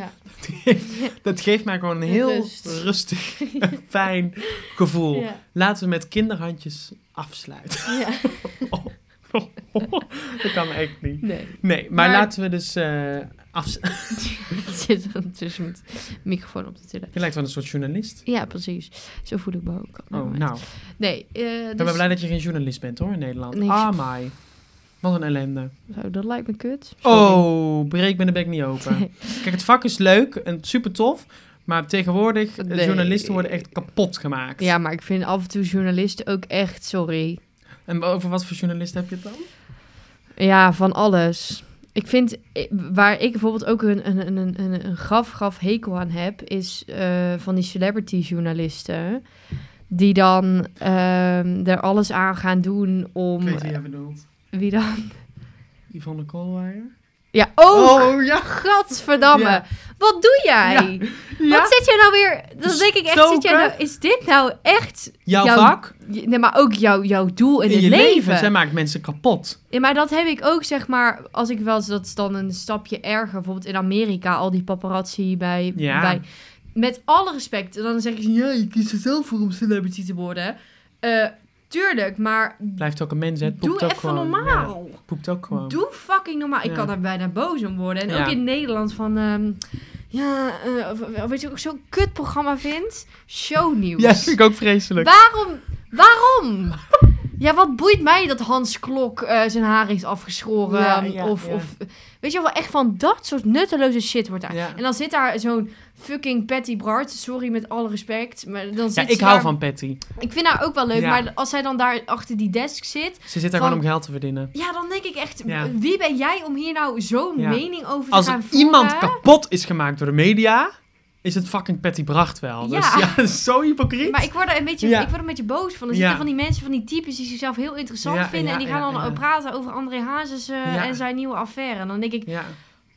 [SPEAKER 2] dat geeft mij gewoon een heel
[SPEAKER 1] Rust.
[SPEAKER 2] rustig en fijn gevoel.
[SPEAKER 1] ja,
[SPEAKER 2] Laten we met kinderhandjes afsluiten.
[SPEAKER 1] ja.
[SPEAKER 2] dat kan echt niet.
[SPEAKER 1] Nee.
[SPEAKER 2] Nee, maar,
[SPEAKER 1] Maar-
[SPEAKER 2] laten we dus eh afsluiten.
[SPEAKER 1] Ik zit dan tussen met microfoon op te tillen.
[SPEAKER 2] Je lijkt wel een soort journalist.
[SPEAKER 1] Ja, precies. Zo voel ik me ook.
[SPEAKER 2] Oh, nou.
[SPEAKER 1] Nee, eh
[SPEAKER 2] Ik ben
[SPEAKER 1] dus,
[SPEAKER 2] blij dat je geen journalist bent hoor in Nederland.
[SPEAKER 1] Nee.
[SPEAKER 2] Ah, my. Wat een ellende.
[SPEAKER 1] zo, dat lijkt me kut.
[SPEAKER 2] Oh, breek me de bek niet open.
[SPEAKER 1] Nee.
[SPEAKER 2] Kijk, het vak is leuk en super tof. Maar tegenwoordig, eh,
[SPEAKER 1] Nee.
[SPEAKER 2] journalisten worden echt kapot gemaakt.
[SPEAKER 1] Ja, maar ik vind af en toe journalisten ook echt, sorry.
[SPEAKER 2] En over wat voor journalist heb je het dan?
[SPEAKER 1] Ja, van alles. Ik vind, eh, waar ik bijvoorbeeld ook een, een, een, een, een- een graf, graf hekel aan heb, is eh, van die celebrity journalisten. Die dan ehm, er alles aan gaan doen om...
[SPEAKER 2] Ik weet wie jij bedoelt.
[SPEAKER 1] Wie dan?
[SPEAKER 2] Yvonne Koolweijer?
[SPEAKER 1] Ja, ook!
[SPEAKER 2] ja.
[SPEAKER 1] Gadverdamme.
[SPEAKER 2] Oh. Ja.
[SPEAKER 1] Wat doe jij? Wat zit jij nou weer... Dan denk ik echt, zit jij nou,
[SPEAKER 2] Stoken.
[SPEAKER 1] is dit nou echt...
[SPEAKER 2] Jouw
[SPEAKER 1] jouw
[SPEAKER 2] vak
[SPEAKER 1] je- Nee, maar ook jouw, jouw doel in,
[SPEAKER 2] in
[SPEAKER 1] het
[SPEAKER 2] je leven.
[SPEAKER 1] leven.
[SPEAKER 2] Zij maakt mensen kapot.
[SPEAKER 1] Ja, maar dat heb ik ook, zeg maar, als ik wel eens, dat is dan een stapje erger. Bijvoorbeeld in Amerika, al die paparazzi bij...
[SPEAKER 2] Ja.
[SPEAKER 1] bij met alle respect, en dan zeggen ze, ja, je kiest er zelf voor om celebrity te worden. Eh, tuurlijk, maar
[SPEAKER 2] Blijft ook een mens, hè. Het
[SPEAKER 1] doe
[SPEAKER 2] Poept ook
[SPEAKER 1] even
[SPEAKER 2] gewoon. Ja,
[SPEAKER 1] normaal.
[SPEAKER 2] het poept ook gewoon.
[SPEAKER 1] Doe fucking normaal. Ik
[SPEAKER 2] Ja.
[SPEAKER 1] kan daar bijna boos om worden. En
[SPEAKER 2] Ja.
[SPEAKER 1] ook in Nederland van... ehm, ja, eh, of- weet je wat ik zo'n kutprogramma vind? Shownieuws.
[SPEAKER 2] Ja, vind ik ook vreselijk.
[SPEAKER 1] Waarom? Waarom? Ja, wat boeit mij dat Hans Klok eh, zijn haar is afgeschoren? ehm,
[SPEAKER 2] Ja, ja,
[SPEAKER 1] of,
[SPEAKER 2] ja.
[SPEAKER 1] of weet je wel, echt van dat soort nutteloze shit wordt daar.
[SPEAKER 2] Ja.
[SPEAKER 1] En dan zit daar zo'n fucking Patty Bart. Sorry, met alle respect. Maar dan
[SPEAKER 2] Ja,
[SPEAKER 1] zit
[SPEAKER 2] ik
[SPEAKER 1] ze
[SPEAKER 2] hou
[SPEAKER 1] daar-
[SPEAKER 2] van Patty.
[SPEAKER 1] Ik vind haar ook wel leuk.
[SPEAKER 2] Ja.
[SPEAKER 1] Maar als zij dan daar achter die desk zit,
[SPEAKER 2] Ze zit daar
[SPEAKER 1] Van-
[SPEAKER 2] gewoon om geld te verdienen.
[SPEAKER 1] ja, dan denk ik echt,
[SPEAKER 2] Ja.
[SPEAKER 1] wie ben jij om hier nou zo'n
[SPEAKER 2] Ja.
[SPEAKER 1] mening over te
[SPEAKER 2] Als
[SPEAKER 1] gaan
[SPEAKER 2] er
[SPEAKER 1] voeren?
[SPEAKER 2] iemand kapot is gemaakt door de media, is het fucking Patty Bracht wel. Dus
[SPEAKER 1] Ja.
[SPEAKER 2] ja, dat is zo hypocriet.
[SPEAKER 1] Maar ik word er een beetje,
[SPEAKER 2] Ja.
[SPEAKER 1] ik word een beetje boos van. Er
[SPEAKER 2] Ja.
[SPEAKER 1] zitten van die mensen, van die types die zichzelf heel interessant
[SPEAKER 2] Ja,
[SPEAKER 1] vinden.
[SPEAKER 2] ja,
[SPEAKER 1] en die gaan
[SPEAKER 2] ja,
[SPEAKER 1] dan
[SPEAKER 2] ja.
[SPEAKER 1] praten over André Hazes eh,
[SPEAKER 2] Ja.
[SPEAKER 1] en zijn nieuwe affaire. En dan denk ik,
[SPEAKER 2] Ja.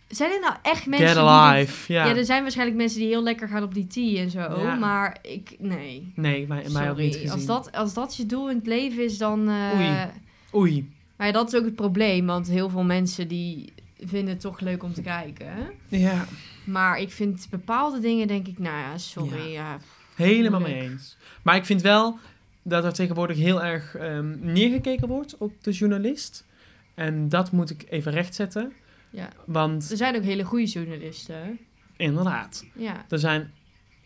[SPEAKER 1] zijn dit nou echt mensen
[SPEAKER 2] Get
[SPEAKER 1] die... dit-
[SPEAKER 2] alive. Ja.
[SPEAKER 1] Ja, dus- er zijn waarschijnlijk mensen die heel lekker gaan op die tea en zo.
[SPEAKER 2] Ja.
[SPEAKER 1] Maar ik, nee.
[SPEAKER 2] Nee, mij, mij ook niet
[SPEAKER 1] Sorry.
[SPEAKER 2] gezien.
[SPEAKER 1] Als dat, als dat je doel in het leven is, dan... eh,
[SPEAKER 2] Oei. Oei.
[SPEAKER 1] Maar ja, dat is ook het probleem. Want heel veel mensen die vinden het toch leuk om te kijken.
[SPEAKER 2] Ja.
[SPEAKER 1] Maar ik vind bepaalde dingen, denk ik, nou ja, sorry. Ja.
[SPEAKER 2] Helemaal mee
[SPEAKER 1] Moeilijk.
[SPEAKER 2] eens. Maar ik vind wel dat er tegenwoordig heel erg ehm, neergekeken wordt op de journalist. En dat moet ik even rechtzetten.
[SPEAKER 1] Ja.
[SPEAKER 2] Want
[SPEAKER 1] Er zijn ook hele goede journalisten.
[SPEAKER 2] inderdaad,
[SPEAKER 1] Ja.
[SPEAKER 2] er zijn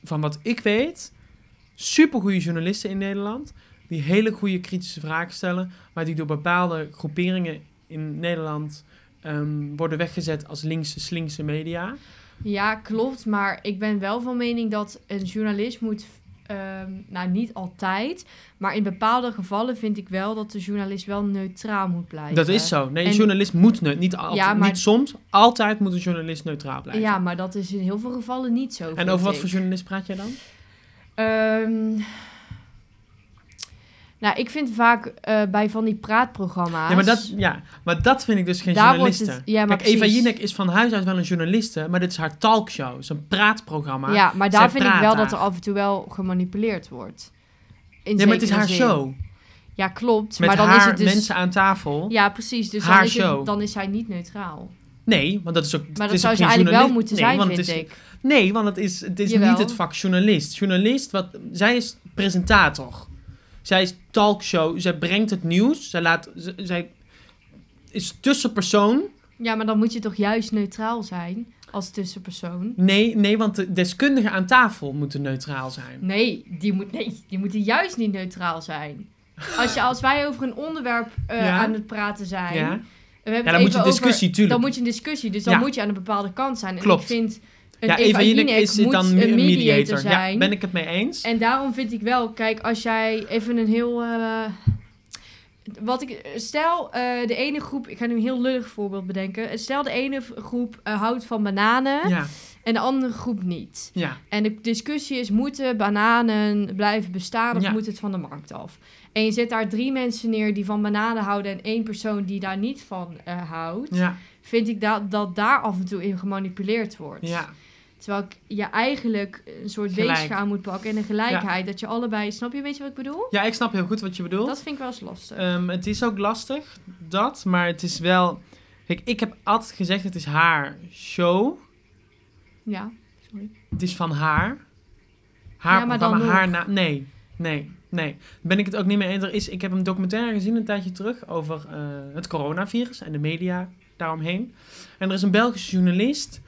[SPEAKER 2] van wat ik weet supergoeie journalisten in Nederland. Die hele goede kritische vragen stellen. Maar die door bepaalde groeperingen in Nederland ehm, worden weggezet als linkse, slinkse media.
[SPEAKER 1] Ja, klopt. Maar ik ben wel van mening dat een journalist moet. ehm, nou, niet altijd. Maar in bepaalde gevallen vind ik wel dat de journalist wel neutraal moet blijven.
[SPEAKER 2] Dat is zo. Nee, een
[SPEAKER 1] En-
[SPEAKER 2] journalist moet neu- niet, altijd,
[SPEAKER 1] Ja, maar-
[SPEAKER 2] niet soms. Altijd moet een journalist neutraal blijven.
[SPEAKER 1] Ja, maar dat is in heel veel gevallen niet zo.
[SPEAKER 2] En
[SPEAKER 1] vind
[SPEAKER 2] over wat
[SPEAKER 1] ik.
[SPEAKER 2] voor journalist praat jij dan?
[SPEAKER 1] Ehm, nou, ik vind vaak eh, bij van die praatprogramma's.
[SPEAKER 2] Ja maar, dat, ja, maar dat vind ik dus geen
[SPEAKER 1] Daar wordt
[SPEAKER 2] journalisten.
[SPEAKER 1] het- ja, maar
[SPEAKER 2] Kijk, Eva
[SPEAKER 1] precies.
[SPEAKER 2] Jinek is van huis uit wel een journaliste, maar dit is haar talkshow. is een praatprogramma.
[SPEAKER 1] ja, maar daar
[SPEAKER 2] zij
[SPEAKER 1] vind ik
[SPEAKER 2] praat
[SPEAKER 1] wel
[SPEAKER 2] daar.
[SPEAKER 1] dat er af en toe wel gemanipuleerd wordt. In
[SPEAKER 2] nee, maar het is
[SPEAKER 1] zekere
[SPEAKER 2] haar
[SPEAKER 1] zin.
[SPEAKER 2] show.
[SPEAKER 1] Ja, klopt.
[SPEAKER 2] Met
[SPEAKER 1] maar dan
[SPEAKER 2] haar
[SPEAKER 1] is het dus.
[SPEAKER 2] mensen aan tafel.
[SPEAKER 1] Ja, precies. Dus
[SPEAKER 2] Haar
[SPEAKER 1] dan, is het-
[SPEAKER 2] show.
[SPEAKER 1] dan is zij niet neutraal.
[SPEAKER 2] Nee, want dat is ook.
[SPEAKER 1] Maar
[SPEAKER 2] het
[SPEAKER 1] dat
[SPEAKER 2] is
[SPEAKER 1] zou
[SPEAKER 2] ook
[SPEAKER 1] ze
[SPEAKER 2] geen
[SPEAKER 1] eigenlijk wel
[SPEAKER 2] journalist-
[SPEAKER 1] moeten
[SPEAKER 2] nee,
[SPEAKER 1] zijn,
[SPEAKER 2] want
[SPEAKER 1] vind
[SPEAKER 2] het is,
[SPEAKER 1] ik.
[SPEAKER 2] Nee, want het is, het is
[SPEAKER 1] Jawel.
[SPEAKER 2] niet het vak journalist. Journalist, wat, zij is presentator. Zij is talkshow. Zij brengt het nieuws. Zij, laat, z- zij is tussenpersoon
[SPEAKER 1] Ja, maar dan moet je toch juist neutraal zijn als tussenpersoon?
[SPEAKER 2] Nee, nee, want de deskundigen aan tafel moeten neutraal zijn.
[SPEAKER 1] Nee, die, moet, nee, die moeten juist niet neutraal zijn. Als, je, als wij over een onderwerp eh,
[SPEAKER 2] Ja.
[SPEAKER 1] aan het praten zijn...
[SPEAKER 2] Ja,
[SPEAKER 1] en we hebben
[SPEAKER 2] ja
[SPEAKER 1] het
[SPEAKER 2] dan moet je
[SPEAKER 1] even
[SPEAKER 2] discussie,
[SPEAKER 1] over-
[SPEAKER 2] tuurlijk.
[SPEAKER 1] Dan moet je een discussie, dus dan
[SPEAKER 2] Ja.
[SPEAKER 1] moet je aan een bepaalde kant zijn. En
[SPEAKER 2] Klopt.
[SPEAKER 1] ik vind, een
[SPEAKER 2] ja,
[SPEAKER 1] Eva Jinek
[SPEAKER 2] is
[SPEAKER 1] moet
[SPEAKER 2] dan
[SPEAKER 1] een
[SPEAKER 2] een mediator.
[SPEAKER 1] mediator, zijn.
[SPEAKER 2] Ja, ben ik het mee eens?
[SPEAKER 1] En daarom vind ik wel, kijk, als jij even een heel. eh, wat ik. Stel, eh, de ene groep. Ik ga nu een heel lullig voorbeeld bedenken. Stel, de ene v- groep eh, houdt van bananen.
[SPEAKER 2] Ja,
[SPEAKER 1] En de andere groep niet.
[SPEAKER 2] ja,
[SPEAKER 1] En de discussie is: moeten bananen blijven bestaan of
[SPEAKER 2] Ja.
[SPEAKER 1] moet het van de markt af? En je zet daar drie mensen neer die van bananen houden en één persoon die daar niet van eh, houdt.
[SPEAKER 2] ja,
[SPEAKER 1] Vind ik dat, dat daar af en toe in gemanipuleerd wordt.
[SPEAKER 2] ja.
[SPEAKER 1] Terwijl ik je eigenlijk een soort
[SPEAKER 2] Gelijk.
[SPEAKER 1] weegschaal moet pakken en een gelijkheid. Dat je allebei, snap je een beetje wat ik bedoel?
[SPEAKER 2] Ja, ik snap heel goed wat je bedoelt.
[SPEAKER 1] Dat vind ik wel eens lastig.
[SPEAKER 2] Ehm, het is ook lastig, dat. Maar het is wel... Kijk, ik heb altijd gezegd, het is haar show.
[SPEAKER 1] ja.
[SPEAKER 2] Het is van haar. Haar
[SPEAKER 1] Ja, maar dan
[SPEAKER 2] programma,
[SPEAKER 1] nog.
[SPEAKER 2] haar na... Nee, nee, nee. Daar Ben ik het ook niet mee eens. Er is, ik heb een documentaire gezien een tijdje terug over eh, het coronavirus en de media daaromheen. En er is een Belgische journalist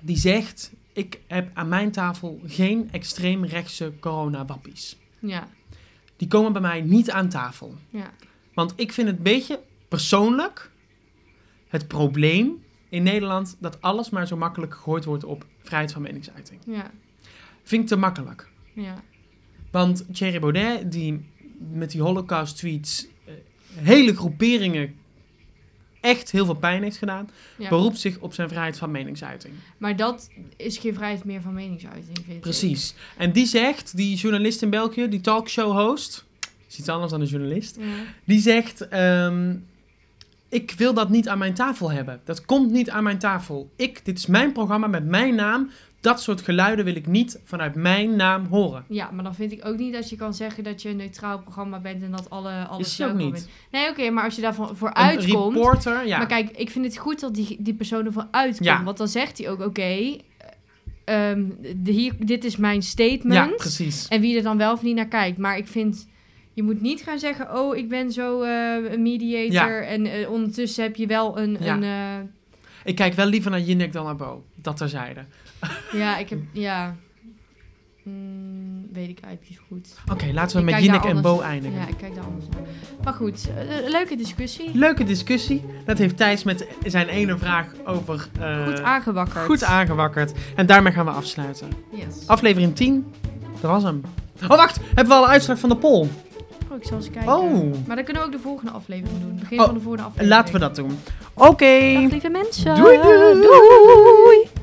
[SPEAKER 2] die zegt... Ik heb aan mijn tafel geen extreemrechtse coronawappies.
[SPEAKER 1] Ja.
[SPEAKER 2] Die komen bij mij niet aan tafel.
[SPEAKER 1] Ja.
[SPEAKER 2] Want ik vind het een beetje persoonlijk het probleem in Nederland... dat alles maar zo makkelijk gegooid wordt op vrijheid van meningsuiting.
[SPEAKER 1] Ja.
[SPEAKER 2] Vind ik te makkelijk.
[SPEAKER 1] Ja.
[SPEAKER 2] Want Thierry Baudet, die met die Holocaust-tweets eh, hele groeperingen echt heel veel pijn heeft gedaan,
[SPEAKER 1] Ja.
[SPEAKER 2] beroept zich op zijn vrijheid van meningsuiting.
[SPEAKER 1] Maar dat is geen vrijheid meer van meningsuiting, vind ik.
[SPEAKER 2] Precies. En die zegt, die journalist in België, die talkshow-host, is iets anders dan een journalist,
[SPEAKER 1] Ja.
[SPEAKER 2] die zegt: ehm, Ik wil dat niet aan mijn tafel hebben. Dat komt niet aan mijn tafel. Ik, dit is mijn programma met mijn naam. Dat soort geluiden wil ik niet vanuit mijn naam horen.
[SPEAKER 1] Ja, maar dan vind ik ook niet dat je kan zeggen dat je een neutraal programma bent en dat alle, alles
[SPEAKER 2] Is het ook
[SPEAKER 1] welkom
[SPEAKER 2] niet.
[SPEAKER 1] is. Nee, oké, maar als je daarvan voor
[SPEAKER 2] Een
[SPEAKER 1] uitkomt...
[SPEAKER 2] reporter, ja.
[SPEAKER 1] Maar kijk, ik vind het goed dat die, die persoon ervan uitkomt.
[SPEAKER 2] Ja.
[SPEAKER 1] Want dan zegt hij ook, oké, ehm, de- hier, dit is mijn statement.
[SPEAKER 2] ja, precies.
[SPEAKER 1] En wie er dan wel of niet naar kijkt. Maar ik vind, je moet niet gaan zeggen, oh, ik ben zo eh, een mediator. En eh, ondertussen heb je wel een...
[SPEAKER 2] Ja.
[SPEAKER 1] een eh,
[SPEAKER 2] Ik kijk wel liever naar Jinek dan naar Bo. Dat terzijde.
[SPEAKER 1] ja, ik heb... Ja. Mm, weet ik eigenlijk niet zo goed.
[SPEAKER 2] Oké, laten we
[SPEAKER 1] Ik
[SPEAKER 2] met
[SPEAKER 1] kijk daar
[SPEAKER 2] Jinek en
[SPEAKER 1] anders-
[SPEAKER 2] Bo eindigen.
[SPEAKER 1] Ja, ik kijk daar anders naar. Maar goed, eh, leuke discussie.
[SPEAKER 2] Leuke discussie. Dat heeft Thijs met zijn ene vraag over... eh,
[SPEAKER 1] Goed aangewakkerd.
[SPEAKER 2] goed Oh. aangewakkerd. En daarmee gaan we afsluiten.
[SPEAKER 1] Yes.
[SPEAKER 2] Aflevering 10. Dat was hem. Oh, wacht. Hebben we al een uitslag van de poll?
[SPEAKER 1] Oh, ik zal eens kijken.
[SPEAKER 2] Oh.
[SPEAKER 1] Maar dan kunnen we ook de volgende aflevering doen. Begin
[SPEAKER 2] Oh,
[SPEAKER 1] van de volgende aflevering.
[SPEAKER 2] Laten we dat doen. Oké.
[SPEAKER 1] Dag lieve mensen.
[SPEAKER 2] Doei, doei.
[SPEAKER 1] doei.